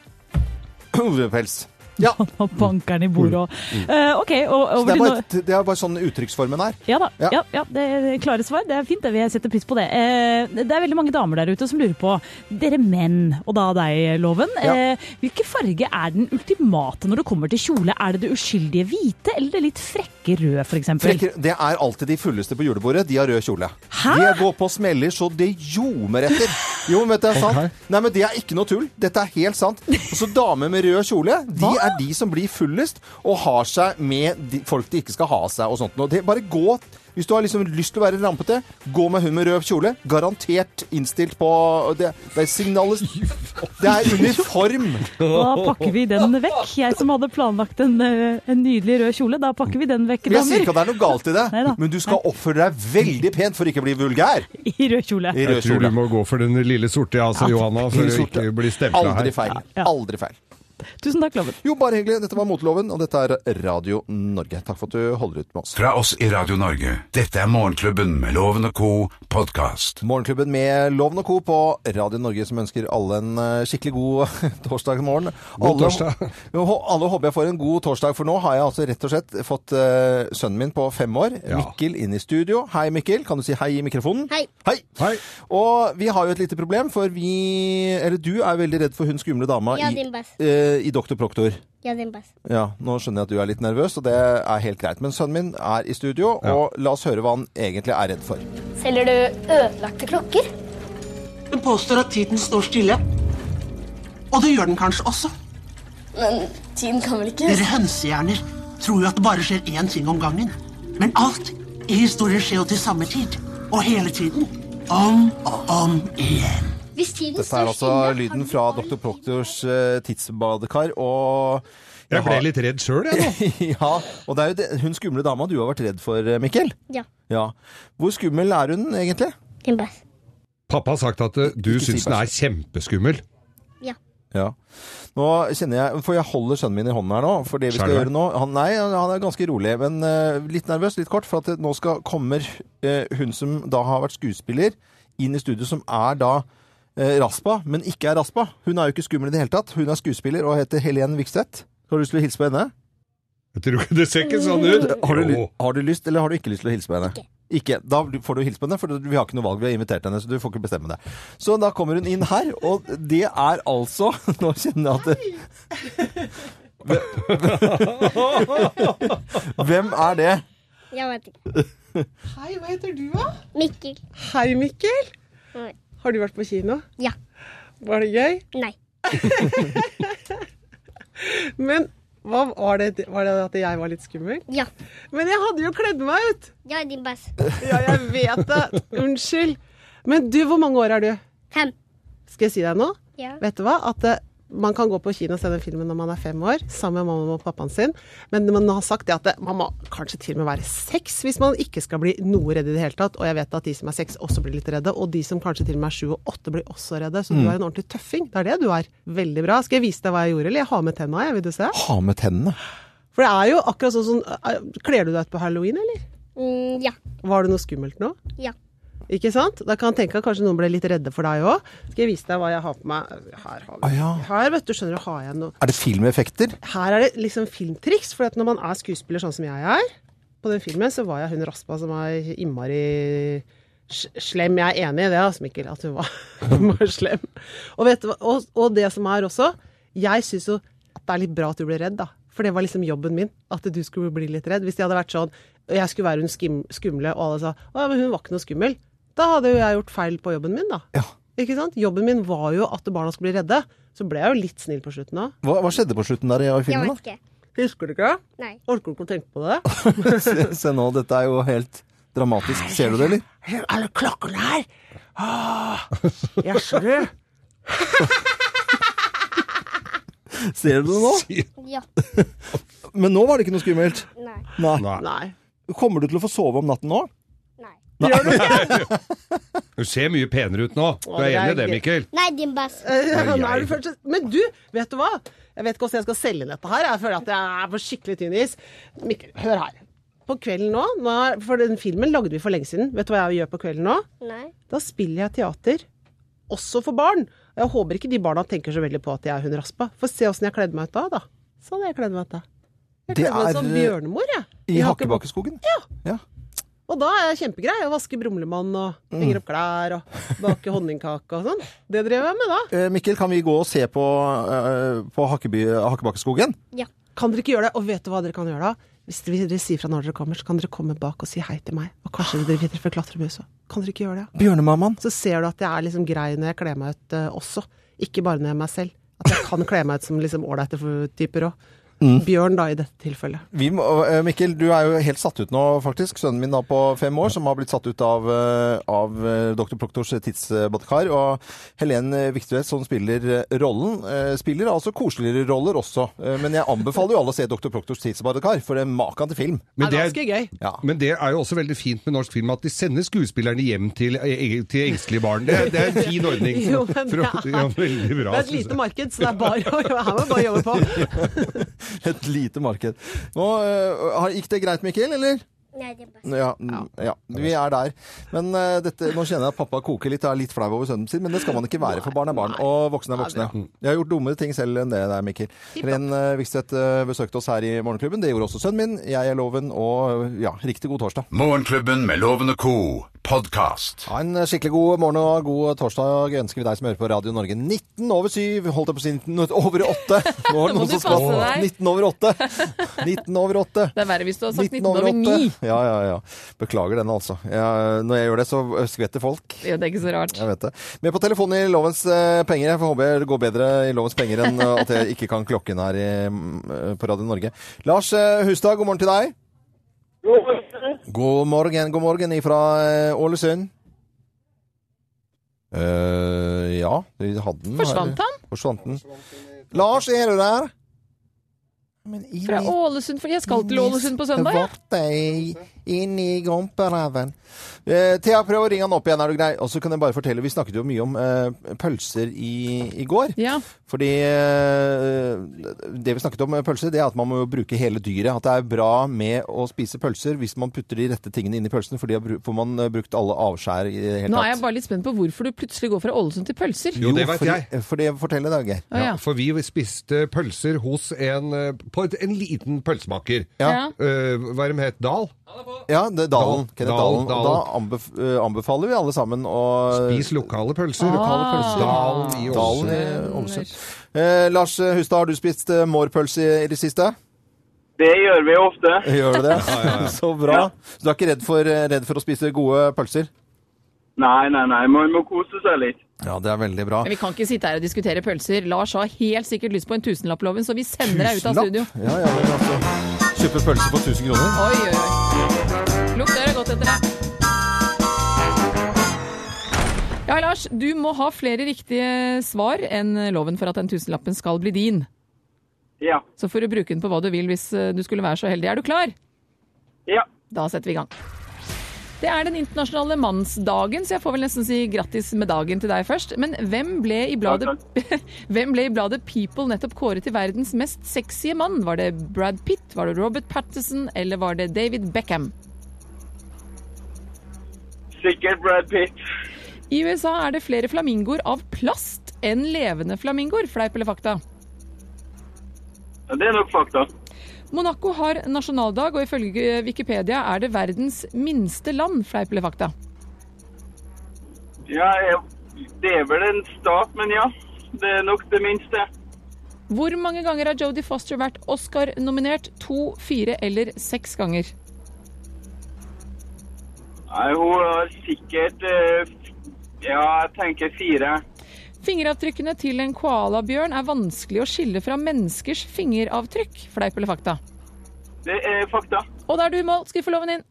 [SPEAKER 2] pels. Ja.
[SPEAKER 6] Nå banker den i bordet og Eh, OK,
[SPEAKER 2] Mm,
[SPEAKER 6] og,
[SPEAKER 2] Så
[SPEAKER 6] over
[SPEAKER 2] det er
[SPEAKER 6] til noe
[SPEAKER 2] bare, det er bare sånn uttrykksformen er.
[SPEAKER 6] Ja da.
[SPEAKER 2] Ja.
[SPEAKER 6] Ja. Ja, det er klare svar. Det er fint. det. Jeg setter pris på det. Eh, det er veldig mange damer der ute som lurer på, dere menn, og da deg, Loven,
[SPEAKER 2] Ja.
[SPEAKER 6] eh, hvilken farge er den ultimate når det kommer til kjole? Er det det uskyldige hvite, eller det litt frekke røde, f.eks.?
[SPEAKER 2] Frekker, det er alltid de fulleste på julebordet. De har rød kjole.
[SPEAKER 6] Hæ?
[SPEAKER 2] De går på smeller så det ljomer etter. Jo, men det er sant.
[SPEAKER 4] Ok.
[SPEAKER 2] Nei, men det er ikke noe tull. Dette er helt sant. Og så damer med rød kjole, de er de som blir fullest og har seg med de, folk de ikke skal ha seg og sånt. noe. det, bare gå. Hvis du har liksom lyst til å være rampete, gå med hun med rød kjole. Garantert innstilt på Det, det er signalis... Det er uniform.
[SPEAKER 6] Da pakker vi den vekk. Jeg som hadde planlagt en, eh, en nydelig rød kjole, da pakker vi den vekk,
[SPEAKER 2] Men Jeg sier ikke
[SPEAKER 6] damer.
[SPEAKER 2] at det er noe galt i det,
[SPEAKER 6] Neida.
[SPEAKER 2] men du skal oppføre deg veldig pent for ikke å bli vulgær
[SPEAKER 6] I rød kjole.
[SPEAKER 2] i
[SPEAKER 4] Jeg
[SPEAKER 2] rød
[SPEAKER 4] tror
[SPEAKER 2] kjole.
[SPEAKER 4] du må gå for den lille sorte, ja, altså, Johanna, for å ikke bli stempla her.
[SPEAKER 2] Aldri feil.
[SPEAKER 6] Ja.
[SPEAKER 2] Aldri feil.
[SPEAKER 6] Tusen takk, Loven.
[SPEAKER 2] Jo, bare hyggelig. Dette var Moteloven, og dette er Radio Norge. Takk for at du holder ut med oss.
[SPEAKER 1] Fra oss i Radio Norge. Dette er Morgenklubben med Loven og co. podkast.
[SPEAKER 2] Morgenklubben med Loven og Co. på Radio Norge, som ønsker alle en eh, skikkelig god torsdag morgen.
[SPEAKER 4] God torsdag.
[SPEAKER 2] Jo, hå- alle håper jeg får en god torsdag, for nå har jeg altså rett og slett fått eh, sønnen min på fem år,
[SPEAKER 4] Ja.
[SPEAKER 2] Mikkel, inn i studio. Hei, Mikkel. Kan du si hei i mikrofonen?
[SPEAKER 7] Hei.
[SPEAKER 2] Hei.
[SPEAKER 4] Hei.
[SPEAKER 2] Og vi har jo et lite problem, for vi Eller du er veldig redd for hun skumle dama
[SPEAKER 7] Ja,
[SPEAKER 2] i,
[SPEAKER 7] din bæsj.
[SPEAKER 2] eh, i Doktor Proktor.
[SPEAKER 7] Ja, den bæsj.
[SPEAKER 2] Ja, nå skjønner jeg at du er litt nervøs, og det er helt greit. Men sønnen min er i studio, og la oss høre hva han egentlig er redd for.
[SPEAKER 7] Selger du ødelagte klokker?
[SPEAKER 8] Den påstår at tiden står stille. Og det gjør den kanskje også.
[SPEAKER 7] Men tiden kan vel ikke
[SPEAKER 8] Dere hønsehjerner tror jo at det bare skjer én ting om gangen. Men alt i historien skjer jo til samme tid. Og hele tiden. Om og om igjen.
[SPEAKER 7] Hvis tiden
[SPEAKER 2] Dette er altså lyden fra Dr. Proktors eh, tidsbadekar, og
[SPEAKER 4] Jeg ble litt redd sjøl, jeg nå.
[SPEAKER 2] ja, og det er jo det, hun skumle dama du har vært redd for, eh, Mikkel.
[SPEAKER 7] Ja.
[SPEAKER 2] Ja. Hvor skummel er hun egentlig?
[SPEAKER 7] Din bæsj.
[SPEAKER 4] Pappa har sagt at eh, du
[SPEAKER 2] Ikke si
[SPEAKER 4] syns den er kjempeskummel.
[SPEAKER 7] Ja.
[SPEAKER 2] Ja. Nå kjenner jeg, for jeg holder sønnen min i hånden her nå, for det vi skal
[SPEAKER 4] Skjelver.
[SPEAKER 2] gjøre nå han, Nei, han han er ganske rolig, men eh, litt nervøs, litt kort, for at det, nå skal, kommer eh, hun som da har vært skuespiller, inn i studio, som er da eh, Raspa, men ikke er Raspa. Hun er jo ikke skummel i det hele tatt. Hun er skuespiller og heter Helen Vikstedt. Har du lyst til å hilse på henne?
[SPEAKER 4] Jeg tror ikke Det ser ikke sånn ut.
[SPEAKER 2] Har du,
[SPEAKER 4] Åh.
[SPEAKER 2] ly- har du lyst, eller har du ikke lyst til å hilse på henne? Ikke. Da får du hilse på henne, for vi har ikke noe valg. Vi har invitert henne, så du får ikke bestemme det. Så da kommer hun inn her, og det er altså Nå kjenner jeg at det, Hvem er det?
[SPEAKER 7] Jeg vet ikke.
[SPEAKER 9] Hei, hva heter du, da?
[SPEAKER 7] Mikkel.
[SPEAKER 9] Hei, Mikkel.
[SPEAKER 7] Hei.
[SPEAKER 9] Har du vært på kino?
[SPEAKER 7] Ja.
[SPEAKER 9] Var det gøy?
[SPEAKER 7] Nei.
[SPEAKER 9] Men hva var det, var det at jeg var litt skummel?
[SPEAKER 7] Ja.
[SPEAKER 9] Men jeg hadde jo kledd meg ut!
[SPEAKER 7] Ja, din bæsj.
[SPEAKER 9] Ja, jeg vet det. Unnskyld. Men du, hvor mange år er du?
[SPEAKER 7] Fem.
[SPEAKER 9] Skal jeg si deg noe?
[SPEAKER 7] Ja.
[SPEAKER 9] Vet du hva? At eh, Man kan gå på kino og se den filmen når man er fem år, sammen med mammaen og pappaen sin, men man har sagt det at det- man må kanskje til og med være seks hvis man ikke skal bli noe redd i det hele tatt. Og jeg vet at de som er seks også blir litt redde, og de som kanskje til og med er sju og åtte blir også redde. Så du er en ordentlig tøffing. Det er det du er. Veldig bra. Skal jeg vise deg hva jeg gjorde, eller? Jeg har med tenna, jeg. Vil du se?
[SPEAKER 2] Ha med tennene.
[SPEAKER 9] For det er jo akkurat sånn som Kler du deg ut på halloween, eller?
[SPEAKER 7] Mm, ja.
[SPEAKER 9] Var det noe skummelt nå?
[SPEAKER 7] Ja.
[SPEAKER 9] Ikke sant? Da kan jeg tenke at kanskje noen ble litt redde for deg òg. Skal jeg vise deg hva jeg har på meg? Her har vi
[SPEAKER 2] Ah, ja.
[SPEAKER 9] Her, vet du, skjønner du, har jeg noe
[SPEAKER 2] Er det filmeffekter?
[SPEAKER 9] Her er det liksom filmtriks, for at når man er skuespiller sånn som jeg er På den filmen så var jeg hun raspa som var innmari s- slem. Jeg er enig i det, altså, Mikkel, at hun var, hun var slem. Og, vet du, hva- og, og det som er også Jeg syns jo at det er litt bra at du ble redd, da. For det var liksom jobben min, at du skulle bli litt redd. Hvis de hadde vært sånn og jeg skulle være hun skim, skumle, og alle sa altså, å ja, men hun var ikke noe skummel, da hadde jo jeg gjort feil på jobben min, da.
[SPEAKER 2] Ja.
[SPEAKER 9] Ikke sant? Jobben min var jo at barna skulle bli redde. Så ble jeg jo litt snill på slutten òg.
[SPEAKER 2] Hva, hva skjedde på slutten der i i
[SPEAKER 7] Jeg
[SPEAKER 2] filmen?
[SPEAKER 7] vet ikke.
[SPEAKER 9] Husker du ikke?
[SPEAKER 7] Nei.
[SPEAKER 9] Orker du ikke å tenke på det?
[SPEAKER 2] da? se, se nå, dette er jo helt dramatisk. Ser du det, eller?
[SPEAKER 8] Hør alle klokkene her.
[SPEAKER 9] Jaså, du.
[SPEAKER 2] Ser du det nå?
[SPEAKER 7] Ja.
[SPEAKER 2] Men nå var det ikke noe skummelt.
[SPEAKER 7] Nei.
[SPEAKER 2] Nei.
[SPEAKER 9] Nei.
[SPEAKER 2] Kommer du til å få sove om natten nå?
[SPEAKER 7] Nei.
[SPEAKER 4] Du ser mye penere ut nå. Du er
[SPEAKER 9] det er
[SPEAKER 4] enig i det,
[SPEAKER 9] gøy.
[SPEAKER 4] Mikkel?
[SPEAKER 7] Nei, din bass.
[SPEAKER 2] Eh,
[SPEAKER 9] Nå er du først- Men du, vet du hva? Jeg vet ikke hvordan jeg skal selge dette her. Jeg føler at jeg er på skikkelig tynn is. Mikkel, hør her. På kvelden nå, nå er, for den filmen lagde vi for lenge siden. Vet du hva jeg gjør på kvelden nå?
[SPEAKER 7] Nei.
[SPEAKER 9] Da spiller jeg teater. Også for barn. Og Jeg håper ikke de barna tenker så veldig på at jeg er hun raspa. For se åssen jeg kledde meg ut da, da. Sånn har jeg kledd meg ut da. Jeg
[SPEAKER 2] Det
[SPEAKER 9] kledde meg ut som
[SPEAKER 2] er, eh,
[SPEAKER 9] bjørnemor, jeg.
[SPEAKER 2] I
[SPEAKER 9] Hakkebakk-
[SPEAKER 2] Hakkebakkeskogen? Ja.
[SPEAKER 9] Og da er jeg kjempegrei. Jeg vasker brumlemann og henger opp klær og baker honningkake og sånn. Det drev jeg med da.
[SPEAKER 2] Eh, Mikkel, kan vi gå og se på, eh, på Hakkeby, Hakkebakkeskogen?
[SPEAKER 7] Ja.
[SPEAKER 9] Kan dere ikke gjøre det? Og vet du hva dere kan gjøre da? Hvis dere, dere sier fra når dere kommer, så kan dere komme bak og si hei til meg. Og kanskje dere vil treffe klatremus òg. Kan dere ikke gjøre det?
[SPEAKER 2] Bjørnemammaen.
[SPEAKER 9] Så ser du at jeg er liksom grei når jeg kler meg ut eh, også. Ikke bare når jeg er meg selv. At jeg kan kle meg ut som liksom ålreite typer òg. Bjørn, da, i dette tilfellet.
[SPEAKER 2] Vi må, eh, Mikkel, du er jo helt satt ut nå, faktisk. Sønnen min da på fem år, som har blitt satt ut av, eh, av eh, Dr. Proktors tidsbadekar. Og Helen Viktvedt, som spiller eh, rollen, eh, spiller altså koseligere roller også. Eh, Men jeg anbefaler jo alle å se Dr. Proktors tidsbadekar, for det er maken til film.
[SPEAKER 9] Det
[SPEAKER 4] Men
[SPEAKER 9] er
[SPEAKER 4] det
[SPEAKER 9] ganske
[SPEAKER 4] er,
[SPEAKER 9] gøy.
[SPEAKER 2] Ja.
[SPEAKER 4] men det er jo også veldig fint med norsk film at de sender skuespillerne hjem til, eh, til engstelige barn. Det, er- det er en fin ordning.
[SPEAKER 9] Jo, men
[SPEAKER 4] For
[SPEAKER 9] det
[SPEAKER 4] å-
[SPEAKER 9] er,
[SPEAKER 4] ja, veldig
[SPEAKER 9] det
[SPEAKER 4] bra.
[SPEAKER 9] er
[SPEAKER 4] synes
[SPEAKER 9] et
[SPEAKER 4] jeg.
[SPEAKER 9] lite marked, så det er bare å her må vi bare jobbe på.
[SPEAKER 2] Et lite marked. Nå, eh, har- Gikk det greit, Mikkel, eller?
[SPEAKER 7] Nei, din bass.
[SPEAKER 2] Ja, mm, ja, vi er der. Men eh, dette, nå kjenner jeg at pappa koker litt og er litt flau over sønnen sin, men det skal man ikke være, for barn er barn, og voksne er voksne. Jeg har gjort dummere ting selv enn det der, Mikkel. Ren uh, Vikstvedt eh, besøkte oss her i Morgenklubben, det gjorde også sønnen min. Jeg er loven, og ja, riktig god torsdag.
[SPEAKER 1] Morgenklubben med Loven og co. podkast.
[SPEAKER 2] Ha en eh, skikkelig god morgen og god torsdag ønsker vi deg som hører på Radio Norge. 19 over 7, holdt jeg på å si 19 over 8. Nå er det
[SPEAKER 3] Må
[SPEAKER 2] noen
[SPEAKER 3] du
[SPEAKER 2] som skal
[SPEAKER 3] passe deg.
[SPEAKER 2] 19 over 8. 19 over 8.
[SPEAKER 3] Det er verre hvis du har sagt 19
[SPEAKER 2] over
[SPEAKER 3] over 9.
[SPEAKER 2] åtte. Ja, ja, ja. Beklager denne, altså. Jeg, når jeg gjør det, så skvetter folk.
[SPEAKER 3] Ja, det er ikke så rart.
[SPEAKER 2] Jeg vet det. Med på telefonen i Lovens eh, penger. Jeg får håpe det går bedre i Lovens penger enn eh, at jeg ikke kan klokken her i, mm, på Radio Norge. Lars eh, Hustad, god morgen til deg. God morgen, god morgen ifra eh, Ålesund. Eh, ja, vi hadde den. her.
[SPEAKER 3] Forsvant han
[SPEAKER 2] Forsvant den. Lars, er du der? Men i
[SPEAKER 3] fra
[SPEAKER 2] mitt-
[SPEAKER 3] Ålesund? For jeg skal til Ålesund på søndag, ja.
[SPEAKER 2] Vart deg inn i gompereven. Eh, Thea, prøv å ringe han opp igjen, er du grei? Og så kan jeg bare fortelle, vi snakket jo mye om eh, pølser i, i går.
[SPEAKER 3] ja.
[SPEAKER 2] Fordi eh, det vi snakket om med pølser, det er at man må jo bruke hele dyret. At det er bra med å spise pølser hvis man putter de rette tingene inn i pølsene, for de har bru- får man eh, brukt alle avskjær i det hele
[SPEAKER 3] Nå er jeg
[SPEAKER 2] tatt.
[SPEAKER 3] bare litt spent på hvorfor du plutselig går fra Ålesund til pølser.
[SPEAKER 4] Jo, det vet
[SPEAKER 2] fordi,
[SPEAKER 4] jeg.
[SPEAKER 2] For det forteller deg, Geir.
[SPEAKER 3] Å, ja.
[SPEAKER 4] Ja, for vi spiste pølser hos en, eh, på et, en liten pølsemaker.
[SPEAKER 3] Ja.
[SPEAKER 4] Eh, hva er det het? Dal?
[SPEAKER 2] Ja, det er Dalen.
[SPEAKER 4] Dal-
[SPEAKER 2] Kenneth
[SPEAKER 4] Dal-
[SPEAKER 2] Dalen. Og da anbef eh, anbefaler vi alle sammen å
[SPEAKER 4] Spis lokale pølser.
[SPEAKER 2] Eh,
[SPEAKER 3] Ah.
[SPEAKER 2] lokale pølser. Ah.
[SPEAKER 4] Dalen i
[SPEAKER 2] Dalen
[SPEAKER 4] Ålesund.
[SPEAKER 2] i Ålesund. Eh, Lars Hustad, har du spist eh, mårpølse i, i det siste?
[SPEAKER 10] Det gjør vi ofte.
[SPEAKER 2] Gjør du det? Så bra. Så du er ikke redd for, eh, redd for å spise gode pølser?
[SPEAKER 10] Nei, nei, nei, man må kose seg litt.
[SPEAKER 2] Ja, det er veldig bra.
[SPEAKER 3] Men vi kan ikke sitte her og diskutere pølser. Lars har helt sikkert lyst på en tusenlapp-loven, så vi sender deg ut av
[SPEAKER 2] Tusenlapp?
[SPEAKER 3] studio.
[SPEAKER 2] Ja, ja, men altså. Kjøpe pølse for 1000 kroner?
[SPEAKER 3] Oi, oi, oi. Lukter det godt etter deg. Ja, Lars, du må ha flere riktige svar enn loven for at den tusenlappen skal bli din.
[SPEAKER 10] Ja.
[SPEAKER 3] Så får du bruke den på hva du vil hvis eh, du skulle være så heldig. Er du klar?
[SPEAKER 10] Ja.
[SPEAKER 3] Da setter vi i gang. Det er den internasjonale mannsdagen, så jeg får vel nesten si grattis med dagen til deg først. Men hvem ble i bladet, hvem ble i bladet People nettopp kåret til verdens mest sexy mann? Var det Brad Pitt, var det Robert Patterson eller var det David Beckham?
[SPEAKER 10] Sikkert Brad Pitt.
[SPEAKER 3] I USA er det flere flamingoer av plast enn levende flamingoer, fleip eller fakta.
[SPEAKER 10] Ja, Det er nok fakta.
[SPEAKER 3] Monaco har nasjonaldag, og ifølge Wikipedia er det verdens minste land, fleip eller fakta.
[SPEAKER 10] Ja, jeg, det er vel en stat, men ja. Det er nok det minste.
[SPEAKER 3] Hvor mange ganger har Jodie Foster vært Oscar-nominert? To, fire eller seks ganger?
[SPEAKER 10] Nei, hun har sikkert eh, f- Ja, jeg tenker fire.
[SPEAKER 3] Fingeravtrykkene til en koalabjørn er vanskelig å skille fra menneskers fingeravtrykk, fleip eller fakta.
[SPEAKER 10] Det er fakta.
[SPEAKER 3] Og da er du i mål, skuffeloven din.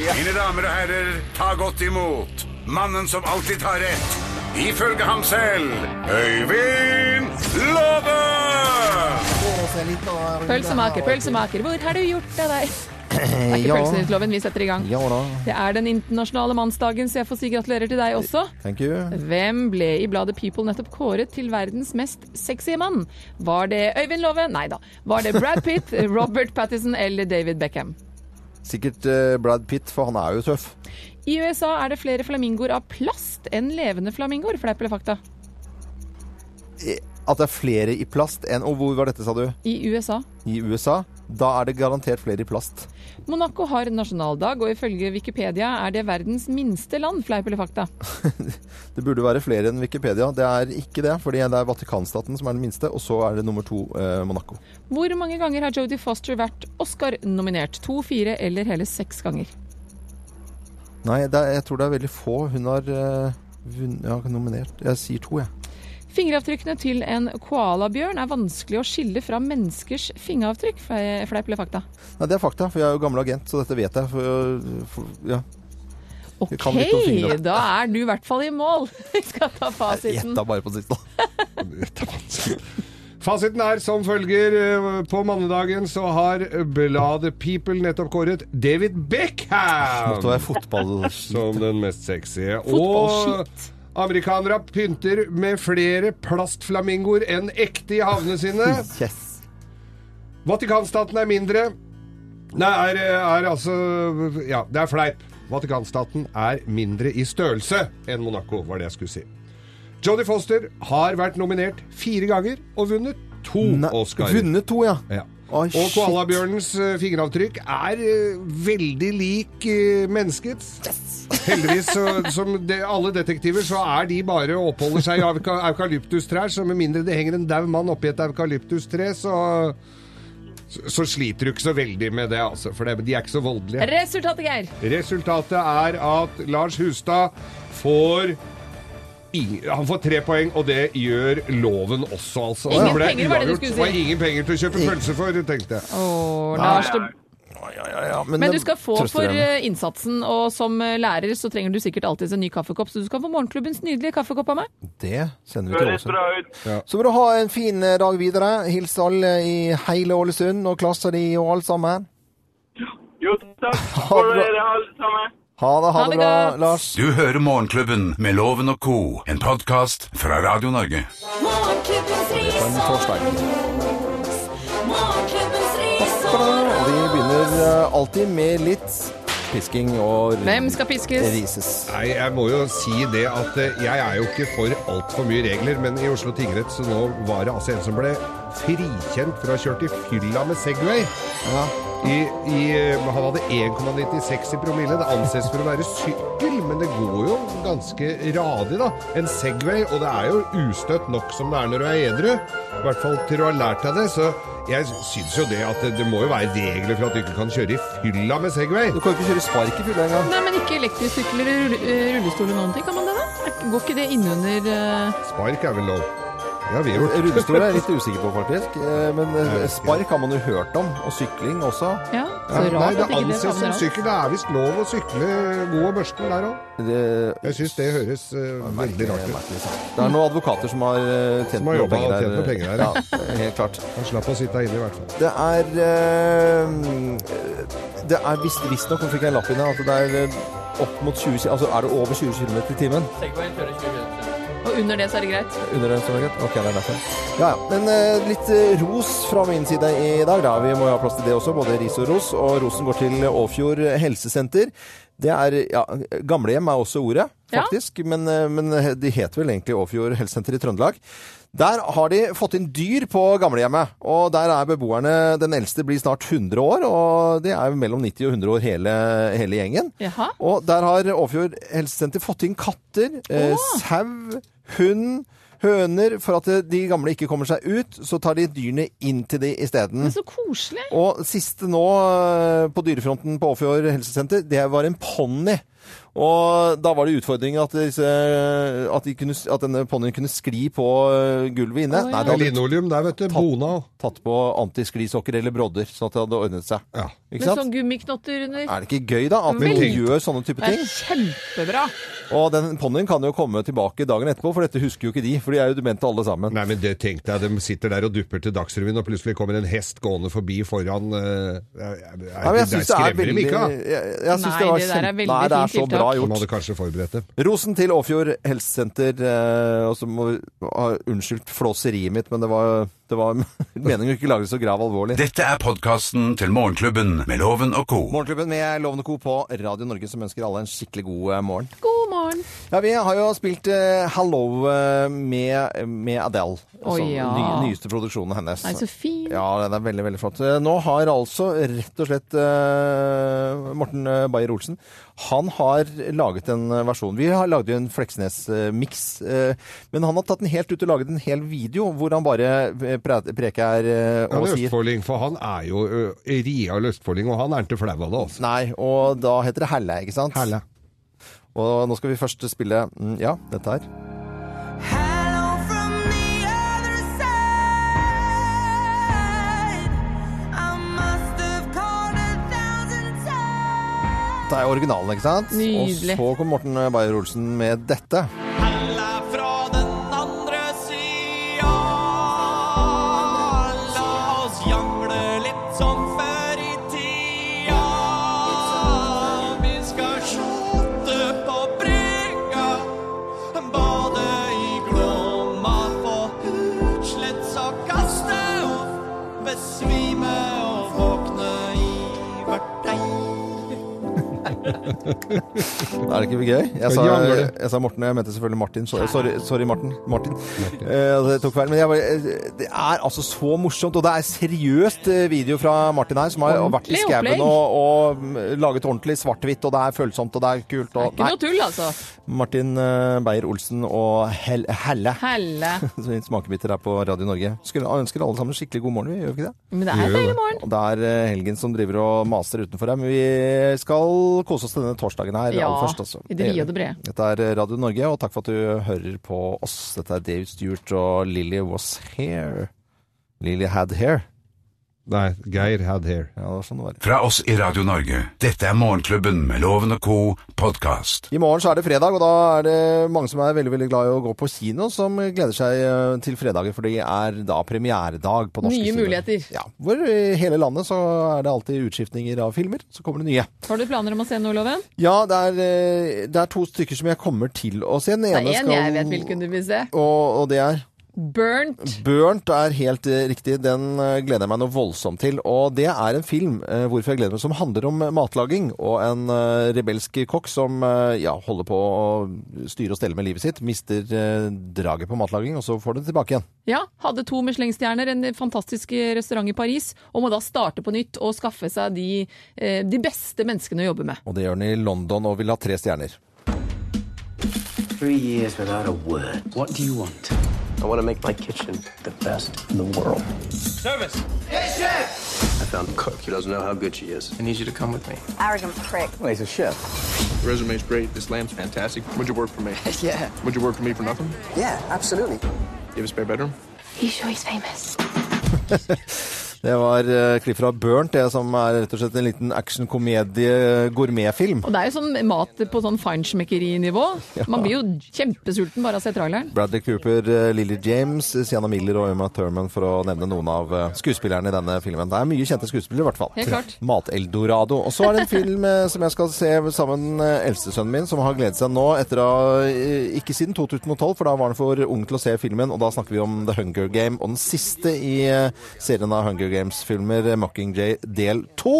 [SPEAKER 1] Mine damer og herrer, ta godt imot mannen som alltid tar rett, ifølge ham selv, Øyvind Låve!
[SPEAKER 3] Pølsemaker, pølsemaker, hvor har du gjort av deg? Det er ikke
[SPEAKER 2] Ja.
[SPEAKER 3] pølsenyttloven, vi setter i gang.
[SPEAKER 2] Ja da.
[SPEAKER 3] Det er den internasjonale mannsdagen, så jeg får si gratulerer til deg også.
[SPEAKER 2] Thank you.
[SPEAKER 3] Hvem ble i bladet People nettopp kåret til verdens mest sexy mann? Var det Øyvind Love? Nei da. Var det Brad Pitt, Robert Pattison eller David Beckham?
[SPEAKER 2] Sikkert eh, Brad Pitt, for han er jo tøff.
[SPEAKER 3] I USA er det flere flamingoer av plast enn levende flamingoer, fleip eller fakta?
[SPEAKER 2] I- Eh, At det er flere i plast enn Og hvor var dette, sa du?
[SPEAKER 3] I USA.
[SPEAKER 2] I USA? Da er det garantert flere i plast.
[SPEAKER 3] Monaco har nasjonaldag, og ifølge Wikipedia er det verdens minste land, fleip eller fakta?
[SPEAKER 2] Det burde være flere enn Wikipedia. Det er ikke det, fordi det er Vatikanstaten som er den minste, og så er det nummer to eh, Monaco.
[SPEAKER 3] Hvor mange ganger har Jodie Foster vært Oscar-nominert? To, fire eller hele seks ganger?
[SPEAKER 2] Nei, det er, jeg tror det er veldig få hun har eh, vunn- ja, nominert. Jeg sier to, jeg.
[SPEAKER 3] Fingeravtrykkene til en koalabjørn er vanskelig å skille fra menneskers fingeravtrykk, fle- fleip eller fakta?
[SPEAKER 2] Nei, det er fakta, for jeg er jo gammel agent, så dette vet jeg. For, for, ja.
[SPEAKER 3] OK,
[SPEAKER 2] kan litt om fingrene.
[SPEAKER 3] da er du i hvert fall i mål. Vi skal ta fasiten.
[SPEAKER 2] Gjetta bare på sist, da.
[SPEAKER 4] Fasiten er som følger. eh, På mannedagen så har bladet People nettopp kåret David
[SPEAKER 2] Måtte
[SPEAKER 4] Beckham
[SPEAKER 2] være fotball.
[SPEAKER 4] som den mest sexy. Og
[SPEAKER 3] Fotballskitt.
[SPEAKER 4] amerikanere pynter med flere plastflamingoer enn ekte i havnene sine.
[SPEAKER 2] Yes.
[SPEAKER 4] Vatikanstaten er mindre. Nei, er, er altså Ja, det er fleip. Vatikanstaten er mindre i størrelse enn Monaco, var det jeg skulle si. Jodie Foster har vært nominert fire ganger og vunnet to
[SPEAKER 2] Nei,
[SPEAKER 4] Oscarer.
[SPEAKER 2] vunnet to, ja.
[SPEAKER 4] Ja.
[SPEAKER 2] Oi,
[SPEAKER 4] Og
[SPEAKER 2] shit.
[SPEAKER 4] koalabjørnens eh, fingeravtrykk er eh, veldig lik eh, menneskets. Heldigvis, så, som de, alle detektiver, så er de bare og oppholder seg i auka, eukalyptustrær. Så med mindre det henger en dau mann oppi et eukalyptustre, så, så, så sliter du ikke så veldig med det, altså. For det, de er ikke så voldelige.
[SPEAKER 3] Resultatet, Geir.
[SPEAKER 4] Resultatet er at Lars Hustad får ing- han får tre poeng, og det gjør loven også, altså.
[SPEAKER 3] Ingen
[SPEAKER 4] ble
[SPEAKER 3] penger var det du
[SPEAKER 4] uavgjort.
[SPEAKER 3] skulle si.
[SPEAKER 4] Det var ingen penger til å kjøpe pølse for, tenkte jeg.
[SPEAKER 3] Åh, Lars, det...
[SPEAKER 2] Oi, oi, oi, ja,
[SPEAKER 3] Men
[SPEAKER 2] det
[SPEAKER 3] du skal få
[SPEAKER 2] trøster
[SPEAKER 3] for
[SPEAKER 2] henne.
[SPEAKER 3] eh, innsatsen, og som eh, lærer så trenger du sikkert alltid en ny kaffekopp, så du skal få morgenklubbens nydelige kaffekopp av meg.
[SPEAKER 2] Det sender vi til
[SPEAKER 10] Høres
[SPEAKER 2] Åse.
[SPEAKER 10] bra ut.
[SPEAKER 2] Så må du ha en fin eh, dag videre. Hils alle i hele Ålesund og klassa di og alt sammen.
[SPEAKER 10] Jo, takk
[SPEAKER 2] Ha
[SPEAKER 10] for
[SPEAKER 2] det bra.
[SPEAKER 10] dere alle sammen.
[SPEAKER 2] Ha det, ha
[SPEAKER 3] Ha
[SPEAKER 2] det
[SPEAKER 3] det
[SPEAKER 2] bra,
[SPEAKER 3] godt.
[SPEAKER 2] Lars.
[SPEAKER 1] Du hører Morgenklubben med Loven og Co., en podkast fra Radio Norge.
[SPEAKER 11] Morgenklubbens
[SPEAKER 2] På en
[SPEAKER 11] risår.
[SPEAKER 2] torsdag.
[SPEAKER 11] Morgenklubbens risår.
[SPEAKER 2] Og vi begynner eh, alltid med litt pisking og
[SPEAKER 3] Hvem skal piskes?
[SPEAKER 2] rises.
[SPEAKER 4] Nei, jeg må jo si det at eh, jeg er jo ikke for altfor mye regler, men i Oslo tingrett så nå var det altså en som ble frikjent for å ha kjørt i fylla med Segway.
[SPEAKER 2] Ja.
[SPEAKER 4] I, i, eh, han hadde 1,96 i promille. Det anses for å være sykkel, men det går jo ganske radig, da. En Segway, og det er jo ustøtt nok som det er når du er edru. I hvert fall til du har lært deg det. Så jeg syns jo det at det, det må jo være regler for at du ikke kan kjøre i fylla med Segway.
[SPEAKER 2] Du kan ikke kjøre spark i fylla engang.
[SPEAKER 3] Nei, men ikke elektrisk sykkel eller rull- eh, rullestol eller noen ting. Kan man det, da? Er- Går ikke det innunder eh,
[SPEAKER 4] Spark er vel lov. Det har vi gjort.
[SPEAKER 2] Rullestol er jeg litt usikker på, faktisk. Eh, Men eh, spark har man jo hørt om. Og sykling også.
[SPEAKER 3] Ja,
[SPEAKER 4] Ja, nei, det
[SPEAKER 3] ikke det
[SPEAKER 4] anses som
[SPEAKER 3] favner alt.
[SPEAKER 4] sykkel. Det er visst lov å sykle god og børsten der òg. Jeg syns det høres eh, veldig rart ut.
[SPEAKER 2] Det er noen advokater som har eh, tjent
[SPEAKER 4] Som har
[SPEAKER 2] noe
[SPEAKER 4] jobba og
[SPEAKER 2] penger
[SPEAKER 4] tjent noe penger der.
[SPEAKER 2] Ja, helt klart.
[SPEAKER 4] Han slapp å sitte inne, i hvert fall.
[SPEAKER 2] Det er eh, Det er visst- visstnok, nå fikk jeg en lapp inn her, at det er eh, opp mot 20 km Altså er det over 20 km i timen?
[SPEAKER 3] Og under det så er det greit.
[SPEAKER 2] Under den som er greit? Eh, Ok, det er derfor. Ja, ja. Men eh, litt eh, ros fra min side i dag, da. Vi må jo ha plass til det også, både ris og ros. Og rosen går til Åfjord helsesenter. Det er ja, Gamlehjem er også ordet,
[SPEAKER 1] Ja.
[SPEAKER 2] faktisk. Men, eh, men de heter vel egentlig Åfjord helsesenter i Trøndelag. Der har de fått inn dyr på gamlehjemmet, og der er beboerne Den eldste blir snart 100 år, og de er jo mellom 90 og 100 år hele, hele gjengen.
[SPEAKER 3] Jaha.
[SPEAKER 2] Og der har Åfjord helsesenter fått inn katter, eh, sau, hund, høner. For at de gamle ikke kommer seg ut, så tar de dyrene inn til de isteden.
[SPEAKER 3] Men så koselig.
[SPEAKER 2] Og siste nå eh, på dyrefronten på Åfjord helsesenter, det var en ponni. Og da var det utfordringen at, disse, at, de kunne, at denne ponnien kunne skli på eh, gulvet inne.
[SPEAKER 4] Å, ja.
[SPEAKER 2] Nei, det hadde
[SPEAKER 4] Linoleum der, vet du. Bona.
[SPEAKER 2] Tatt på antisklisokker eller brodder, sånn at det hadde ordnet seg. Ikke
[SPEAKER 3] Med
[SPEAKER 2] sant?
[SPEAKER 3] sånn gummiknotter under.
[SPEAKER 2] Er det ikke gøy, da? At
[SPEAKER 3] Men
[SPEAKER 2] man
[SPEAKER 3] tenk-
[SPEAKER 2] gjør sånne type
[SPEAKER 3] Det
[SPEAKER 2] ting?
[SPEAKER 3] er kjempebra.
[SPEAKER 2] Og den ponnien kan jo komme tilbake dagen etterpå, for dette husker jo ikke de. For de er jo demente alle sammen.
[SPEAKER 4] Nei, men det tenkte jeg. De sitter der og dupper til Dagsrevyen, og plutselig kommer en hest gående forbi foran eh, jeg, jeg, jeg,
[SPEAKER 2] Nei, men jeg
[SPEAKER 4] det
[SPEAKER 2] synes det er
[SPEAKER 4] skremmer dem
[SPEAKER 2] veldig-
[SPEAKER 4] ikke, da.
[SPEAKER 2] jeg- jeg synes Nei, det var det der er kjempe- veldig Nei, det er fint så bra tiltak. gjort.
[SPEAKER 4] Han hadde kanskje forberedt det.
[SPEAKER 2] Rosen til Åfjord helsesenter. Eh, og så må vi ha unnskyld flåseriet mitt, men det var, det var meningen å ikke lage det så grav alvorlig.
[SPEAKER 1] Dette er podkasten til Morgenklubben med Loven og co.
[SPEAKER 2] Morgenklubben med Lovende Co. på Radio Norge, som ønsker alle en skikkelig god eh, morgen.
[SPEAKER 3] God morgen.
[SPEAKER 2] Ja, Vi har jo spilt eh, Hello eh, med, med Adele.
[SPEAKER 3] Å,
[SPEAKER 2] altså,
[SPEAKER 3] ja.
[SPEAKER 2] ny- nyeste produksjonen hennes.
[SPEAKER 3] Nei, så fin.
[SPEAKER 2] Ja, den er veldig, veldig flott. Eh, Nå har altså rett og slett eh, Morten eh, Beyer-Olsen Han har laget en eh, versjon. Vi har laget jo en Fleksnes-miks. eh, men han har tatt den helt ut og laget en hel video hvor han bare eh, pre preker eh,
[SPEAKER 4] Han
[SPEAKER 2] og
[SPEAKER 4] er
[SPEAKER 2] sier
[SPEAKER 4] østfolding, for han er jo ø, real østfolding, og han er ikke flau av det, altså.
[SPEAKER 2] Nei, og da heter det Helle, ikke sant? Helle. Og nå skal vi først spille mm, Ja, dette her. Det er jo originalen, ikke sant?
[SPEAKER 11] Nydelig.
[SPEAKER 2] Og så kom Morten Beyer-Olsen med dette.
[SPEAKER 11] Besvime og våkne i hvert
[SPEAKER 2] Er det ikke gøy? Jeg sa,
[SPEAKER 4] Skal jangle.
[SPEAKER 2] jeg sa Morten, og jeg mente selvfølgelig Martin. Så- Sorry, sorry Martin. Martin. Eh, det tok feil. Men jeg, bare- det er altså så morsomt, og det er seriøst eh, video fra Martin her, som har vært i
[SPEAKER 3] Ordentlig
[SPEAKER 2] skauen
[SPEAKER 3] opplegg.
[SPEAKER 2] og, og mm, laget ordentlig svart-hvitt, og det er følsomt, og det er kult. Og,
[SPEAKER 3] Ikke noe tull, altså.
[SPEAKER 2] Martin eh, Beyer-Olsen og Hel Helle.
[SPEAKER 3] Helle.
[SPEAKER 2] Så litt Smakebiter her på Radio Norge. Skulle ønsker alle sammen skikkelig god morgen, vi gjør vi ikke det?
[SPEAKER 3] Men det er Gjør jo deilig det. morgen.
[SPEAKER 2] Og det er eh, helgen som driver og maser utenfor her, men vi skal kose oss denne torsdagen her
[SPEAKER 3] Ja,
[SPEAKER 2] aller først. Altså.
[SPEAKER 3] i det vide og det brede.
[SPEAKER 2] Dette er Radio Norge, og takk for at du hører på oss. Dette er David Stewart og Lily Was Here. Lily Had Hair.
[SPEAKER 4] Nei, Geir Had Hair.
[SPEAKER 2] Ja, det var sånn det var.
[SPEAKER 1] Fra oss i Radio Norge, dette er Morgenklubben med Loven og co. podkast.
[SPEAKER 2] I morgen så er det fredag, og da er det mange som er veldig veldig glad i å gå på kino, som gleder seg eh, til fredager, for det er da premieredag på norske
[SPEAKER 3] Nye
[SPEAKER 2] kinoer.
[SPEAKER 3] muligheter.
[SPEAKER 2] Ja, hvor i hele landet så er det alltid utskiftninger av filmer, så kommer det nye.
[SPEAKER 3] Har du planer om å se noe, Loven?
[SPEAKER 2] Ja, det er, eh, det er to stykker som jeg kommer til å se. Den
[SPEAKER 3] Det
[SPEAKER 2] ene
[SPEAKER 3] er en
[SPEAKER 2] skal
[SPEAKER 3] jeg vet hvilken du vil se.
[SPEAKER 2] Og, og det er
[SPEAKER 3] Burnt.
[SPEAKER 2] Mm. Burnt er helt eh, riktig. Den eh, gleder jeg meg noe voldsomt til. Og det er en film eh, hvorfor jeg gleder meg, som handler om eh, matlaging og en eh, rebelsk kokk som eh, ja, holder på å styre og stelle med livet sitt. Mister eh, draget på matlaging, og så får det tilbake igjen.
[SPEAKER 3] Ja, hadde to Michelin-stjerner, en fantastisk restaurant i Paris, og må da starte på nytt og skaffe seg de, eh, de beste menneskene å jobbe med.
[SPEAKER 2] Og det gjør den i London og vil ha tre stjerner.
[SPEAKER 12] Three years without a word. What do you want? I want to make my kitchen the best in the world.
[SPEAKER 11] Service!
[SPEAKER 12] I found a cook who doesn't know how good she is. I need you to come with me.
[SPEAKER 11] Arrogant prick.
[SPEAKER 12] Well, he's a chef.
[SPEAKER 13] Resume's great. This lamb's fantastic. Would you work for me?
[SPEAKER 12] Yeah.
[SPEAKER 13] Would you work for me for nothing?
[SPEAKER 12] Yeah, absolutely.
[SPEAKER 13] You have a spare bedroom?
[SPEAKER 14] You sure he's famous?
[SPEAKER 2] Det var eh, klipp fra Burnt, det som er rett og slett en liten eh, actionkomedie-gourmetfilm.
[SPEAKER 3] Og det er jo sånn mat på sånn feinschmeckeri-nivå. Man blir jo kjempesulten bare av å se traileren.
[SPEAKER 2] Bradley Cooper, eh, Lily James, Sienna Miller og Emma Thurman, for å nevne noen av eh, skuespillerne i denne filmen. Det er mye kjente skuespillere, i hvert fall.
[SPEAKER 3] Helt klart.
[SPEAKER 2] Mateldorado. Og så er det en film eh, som jeg skal se sammen med eldstesønnen min, som har gledet seg nå etter å ha eh, Ikke siden 2012, for da var han for ung til å se filmen, og da snakker vi om The Hunger Game, og den siste i eh, serien av Hunger Games-filmer, eh, Mockingjay del 2.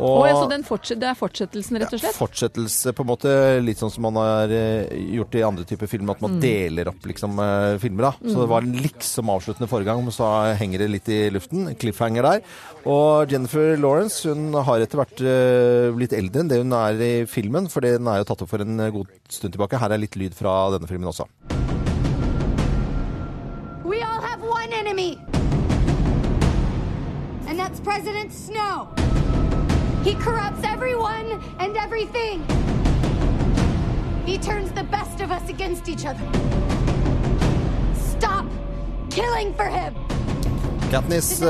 [SPEAKER 3] Og, så den fortset, det er fortsettelsen, rett og slett?
[SPEAKER 2] fortsettelse, på en måte. Litt sånn som man har eh, gjort i andre typer film, at man
[SPEAKER 3] Mm.
[SPEAKER 2] deler opp liksom, eh, filmer. da. Så
[SPEAKER 3] Mm.
[SPEAKER 2] det var en liksom avsluttende forrige gang, men så henger det litt i luften. Cliffhanger der. Og Jennifer Lawrence hun har etter hvert eh, blitt eldre enn det hun er i filmen, for den er jo tatt opp for en eh, god stund tilbake. Her er litt lyd fra denne filmen også.
[SPEAKER 15] We all have one enemy, and that's President Snow. He corrupts everyone and everything. He turns the best of us against each other. Stop killing for him.
[SPEAKER 2] Katniss eh,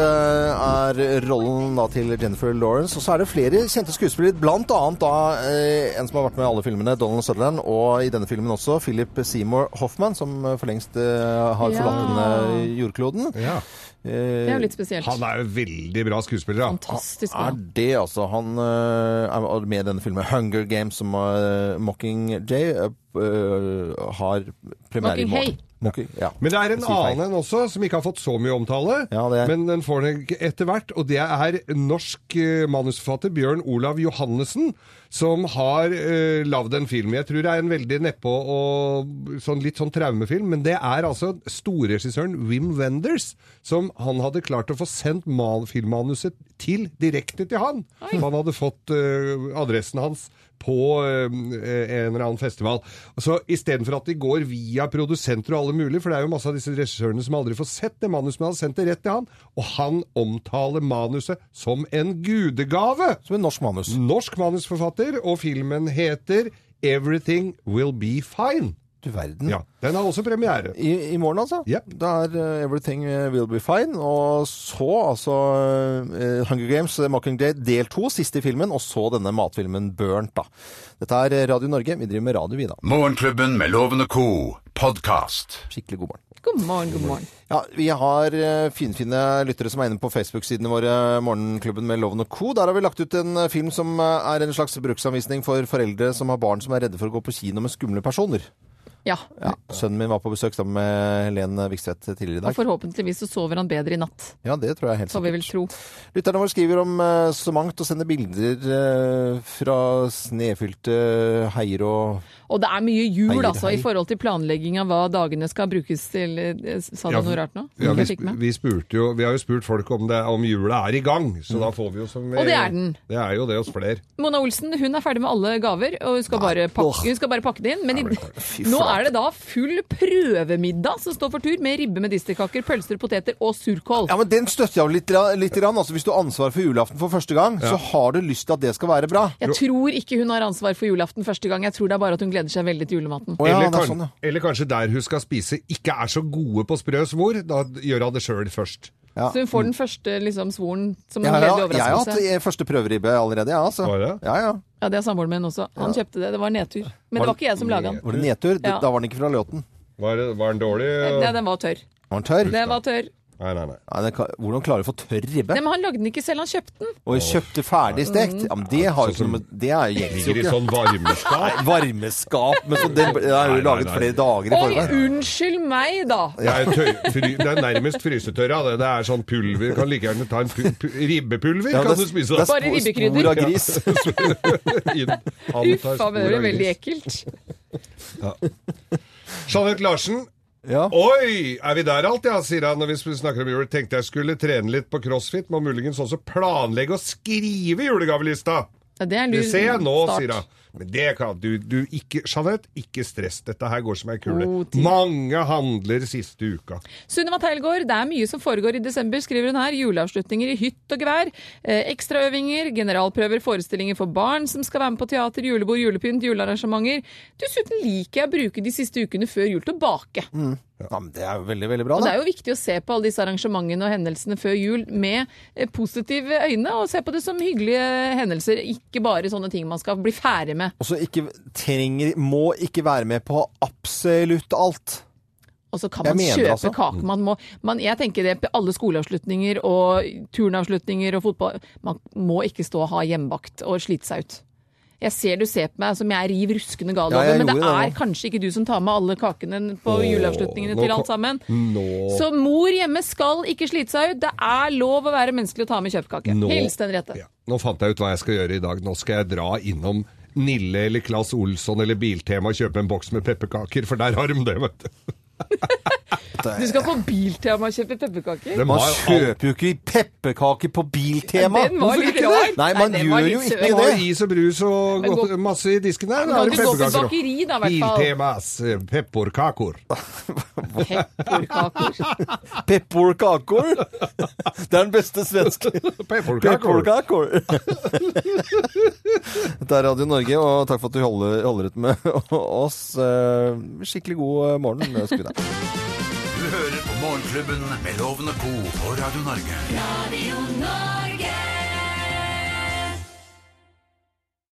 [SPEAKER 2] er rollen da til Jennifer Lawrence, og så er det flere kjente skuespillere, blant annet da eh, en som har vært med i alle filmene, Donald Sutherland, og i denne filmen også Philip Seymour Hoffman, som eh, for lengst eh, har
[SPEAKER 3] Ja.
[SPEAKER 2] forlatt denne jordkloden.
[SPEAKER 3] Det er jo litt spesielt.
[SPEAKER 4] Han er jo veldig bra skuespiller, da.
[SPEAKER 3] Fantastisk bra.
[SPEAKER 2] Er det altså Han eh, er med i denne filmen Hunger Games, som uh, Mockingjay eh, eh, har premiere i
[SPEAKER 4] Mockinghey.
[SPEAKER 2] morgen. Mocking, ja.
[SPEAKER 4] Men det er en
[SPEAKER 2] Jeg sier feil.
[SPEAKER 4] annen en også, som ikke har fått så mye omtale. Men den får den ikke etter hvert. Og det er norsk eh, manusforfatter Bjørn Olav Johannessen, som har uh, lagd en film. Jeg tror det er en veldig nedpå og sånn, litt sånn traumefilm, men det er altså storregissøren Wim Wenders, som han hadde klart å få sendt mal- filmmanuset til, direkte til han. Så han hadde fått eh, adressen hans på eh, en eller annen festival. Og Så Istedenfor at de går via produsenter og alle mulige, for det er jo masse av disse regissørene som aldri får sett det manuset, men hadde sendt det rett til han, og han omtaler manuset som en gudegave!
[SPEAKER 2] Som en norsk manus.
[SPEAKER 4] Norsk manusforfatter, og filmen heter Everything Will Be Fine.
[SPEAKER 2] Du verden.
[SPEAKER 4] Ja, Den har også premiere.
[SPEAKER 2] I, i morgen, altså? Da er eh, Everything Will Be Fine. Og så altså eh, Hunger Games, eh, Mockingjay del to, siste i filmen, og så denne matfilmen Burnt, da. Dette er eh, Radio Norge. Vi driver med radio, vi, da.
[SPEAKER 1] Morgenklubben med Loven og Co. Podcast.
[SPEAKER 2] Skikkelig god morgen.
[SPEAKER 3] God morgen, god morgen.
[SPEAKER 2] Ja, Vi har eh, finfine lyttere som er inne på Facebook-sidene våre, Morgenklubben med Loven og Co. Der har vi lagt ut en eh, film som eh, er en slags bruksanvisning for foreldre som har barn som er redde for å gå på kino med skumle personer.
[SPEAKER 3] Ja.
[SPEAKER 2] Ja, Sønnen min var på besøk sammen med Helen Vikstvedt tidligere i
[SPEAKER 3] Og
[SPEAKER 2] dag.
[SPEAKER 3] forhåpentligvis så sover han bedre i natt.
[SPEAKER 2] Ja, det tror jeg helt
[SPEAKER 3] Får vi vel tro.
[SPEAKER 2] Lytterne våre skriver om eh, så mangt og sender bilder eh, fra snefylte heier og
[SPEAKER 3] Og det er mye jul,
[SPEAKER 2] Heier,
[SPEAKER 3] altså, i
[SPEAKER 2] heier.
[SPEAKER 3] forhold til planlegging av hva dagene skal brukes til. Eh, Sa du
[SPEAKER 4] Ja,
[SPEAKER 3] noe rart nå?
[SPEAKER 4] Ja,
[SPEAKER 3] Som
[SPEAKER 4] vi,
[SPEAKER 3] jeg fikk med?
[SPEAKER 4] vi, spurte jo, vi har jo spurt folk om, det, om jula er i gang, så da får vi jo som vi
[SPEAKER 3] Mm. Og det er den.
[SPEAKER 4] Det er jo det hos flere.
[SPEAKER 3] Mona Olsen hun er ferdig med alle gaver, og hun skal bare pakke, hun skal bare pakke det inn. Men i, nå er det da full prøvemiddag som står for tur, med ribbe med distelkaker, pølser, poteter og surkål.
[SPEAKER 2] Ja, men den støtter jeg jo litt, ra- litt grann. Altså, hvis du har ansvar for julaften for første gang, så har du lyst til at det skal være bra.
[SPEAKER 3] Jeg tror ikke hun har ansvar for julaften første gang, jeg tror det er bare at hun gleder seg veldig til julematen.
[SPEAKER 4] eller, kan,
[SPEAKER 2] sånn,
[SPEAKER 4] eller kanskje der hun skal spise, ikke er så gode på sprø svor. Da gjør hun det sjøl først.
[SPEAKER 3] Så hun får den første liksom, svoren som
[SPEAKER 2] Jeg
[SPEAKER 3] en
[SPEAKER 2] har,
[SPEAKER 3] gledelig
[SPEAKER 2] jeg har hatt
[SPEAKER 3] overraskelse.
[SPEAKER 2] eh, første prøveribbe allerede, jeg, altså. Ja, ja.
[SPEAKER 3] Ja, det har samboeren min også. Han kjøpte det, det var nedtur. Men det var ikke jeg som laga den.
[SPEAKER 2] Var det nedtur?
[SPEAKER 3] Ja.
[SPEAKER 2] Da var den ikke fra Løten.
[SPEAKER 4] Var, den dårlig?
[SPEAKER 3] Nei, den var tørr.
[SPEAKER 2] Var den tørr?
[SPEAKER 3] Den var tørr.
[SPEAKER 4] Nei, nei, nei.
[SPEAKER 2] den kan, hvordan klarer du å få tørr ribbe?
[SPEAKER 3] Nei, men han lagde den ikke selv, han kjøpte den.
[SPEAKER 2] Og kjøpte ferdig stekt? Ja, men det har jo ikke noe med Det er jo gjelder jo
[SPEAKER 4] Sånn Ligger i
[SPEAKER 2] ikke.
[SPEAKER 4] sånn varmeskap.
[SPEAKER 2] Nei, varmeskap, men så det, det er jo laget flere dager i
[SPEAKER 3] Oi,
[SPEAKER 2] forveien.
[SPEAKER 3] unnskyld meg, da!
[SPEAKER 4] Det er, tøy, fry, det er nærmest frysetørra. Det, det er sånn pulver. Kan like gjerne ta en pu, pu, ribbepulver.
[SPEAKER 2] Ja,
[SPEAKER 4] kan
[SPEAKER 2] det-
[SPEAKER 4] du spise
[SPEAKER 2] det er Bare spor- ribbekrydder. spor av gris.
[SPEAKER 4] Uff,
[SPEAKER 3] Uff a meg, det er veldig ekkelt.
[SPEAKER 4] Jeanette Larsen. Oi! Er vi der alt, ja, sier han når vi snakker om jul. Tenkte jeg skulle trene litt på crossfit. Må muligens også planlegge å skrive julegavelista.
[SPEAKER 3] Ja, det er en
[SPEAKER 4] Det
[SPEAKER 3] lur
[SPEAKER 4] ser jeg nå,
[SPEAKER 3] start.
[SPEAKER 4] sier hun. Men det kan du, du ikke Jeanette, ikke stress. Dette her går som ei kule.
[SPEAKER 3] God
[SPEAKER 4] Mange handler siste uka.
[SPEAKER 3] Sunniva Teilgaard, det er mye som foregår i desember, skriver hun her. Juleavslutninger i hytt og gevær, eh, ekstraøvinger, generalprøver, forestillinger for barn som skal være med på teater, julebord, julepynt, julearrangementer. Dessuten liker jeg å bruke de siste ukene før jul til å bake.
[SPEAKER 2] Ja, men det er jo veldig, veldig bra,
[SPEAKER 3] Og det
[SPEAKER 2] da.
[SPEAKER 3] er jo viktig å se på alle disse arrangementene og hendelsene før jul med eh, positive øyne, og se på det som hyggelige hendelser, ikke bare sånne ting man skal bli ferdig med.
[SPEAKER 2] Og så ikke trenger Må ikke være med på absolutt alt.
[SPEAKER 3] Og så kan
[SPEAKER 2] Jeg
[SPEAKER 3] man
[SPEAKER 2] mener
[SPEAKER 3] kjøpe
[SPEAKER 2] altså.
[SPEAKER 3] kake.
[SPEAKER 4] Mm.
[SPEAKER 3] Man må, man, jeg tenker det på alle skoleavslutninger og turnavslutninger og fotball. Man må ikke stå og ha hjemmebakt og slite seg ut. Jeg ser du ser på meg som jeg er riv ruskende gal
[SPEAKER 4] Ja,
[SPEAKER 3] over,
[SPEAKER 4] jeg
[SPEAKER 3] men det
[SPEAKER 4] gjorde
[SPEAKER 3] er
[SPEAKER 4] det
[SPEAKER 3] kanskje ikke du som tar med alle kakene på
[SPEAKER 4] Åh,
[SPEAKER 3] juleavslutningene
[SPEAKER 4] nå
[SPEAKER 3] til
[SPEAKER 4] kom-
[SPEAKER 3] alt sammen.
[SPEAKER 4] Nå.
[SPEAKER 3] Så mor hjemme skal ikke slite seg ut. Det er lov å være menneskelig og ta med kjøpekake.
[SPEAKER 4] Nå-
[SPEAKER 3] Hils den rette.
[SPEAKER 4] Nå fant jeg ut hva jeg skal gjøre i dag. Nå skal jeg dra innom Nille eller Claes Olsson eller Biltema og kjøpe en boks med pepperkaker, for der har de det, vet du.
[SPEAKER 3] Du skal på Biltema og kjøpe pepperkaker.
[SPEAKER 2] Man kjøper jo ikke pepperkaker på Biltema!
[SPEAKER 3] Ja, den var
[SPEAKER 2] Hvorfor
[SPEAKER 3] litt
[SPEAKER 2] ikke det?
[SPEAKER 3] rar.
[SPEAKER 2] Nei, man
[SPEAKER 3] Nei, den var
[SPEAKER 2] gjør
[SPEAKER 3] litt
[SPEAKER 2] jo
[SPEAKER 3] søt.
[SPEAKER 2] ikke
[SPEAKER 4] Det var
[SPEAKER 2] det.
[SPEAKER 4] is og brus og
[SPEAKER 3] Men
[SPEAKER 4] godt,
[SPEAKER 3] gå-
[SPEAKER 4] masse i disken der.
[SPEAKER 3] Men
[SPEAKER 4] Da
[SPEAKER 3] kan
[SPEAKER 4] er det
[SPEAKER 3] du gå på
[SPEAKER 4] pepperkaker.
[SPEAKER 3] bakeri da, i hvert fall?
[SPEAKER 4] Biltemas eh, pepperkaker.
[SPEAKER 2] Pepperkaker? Det er den beste svenske. Pepperkaker. Dette er Radio Norge, og takk for at du holder, holder ut med oss. Eh, Skikkelig god eh, morgen, Skuda.
[SPEAKER 1] Du hører på Morgenklubben med Lovende Co. på Radio Norge.
[SPEAKER 11] Radio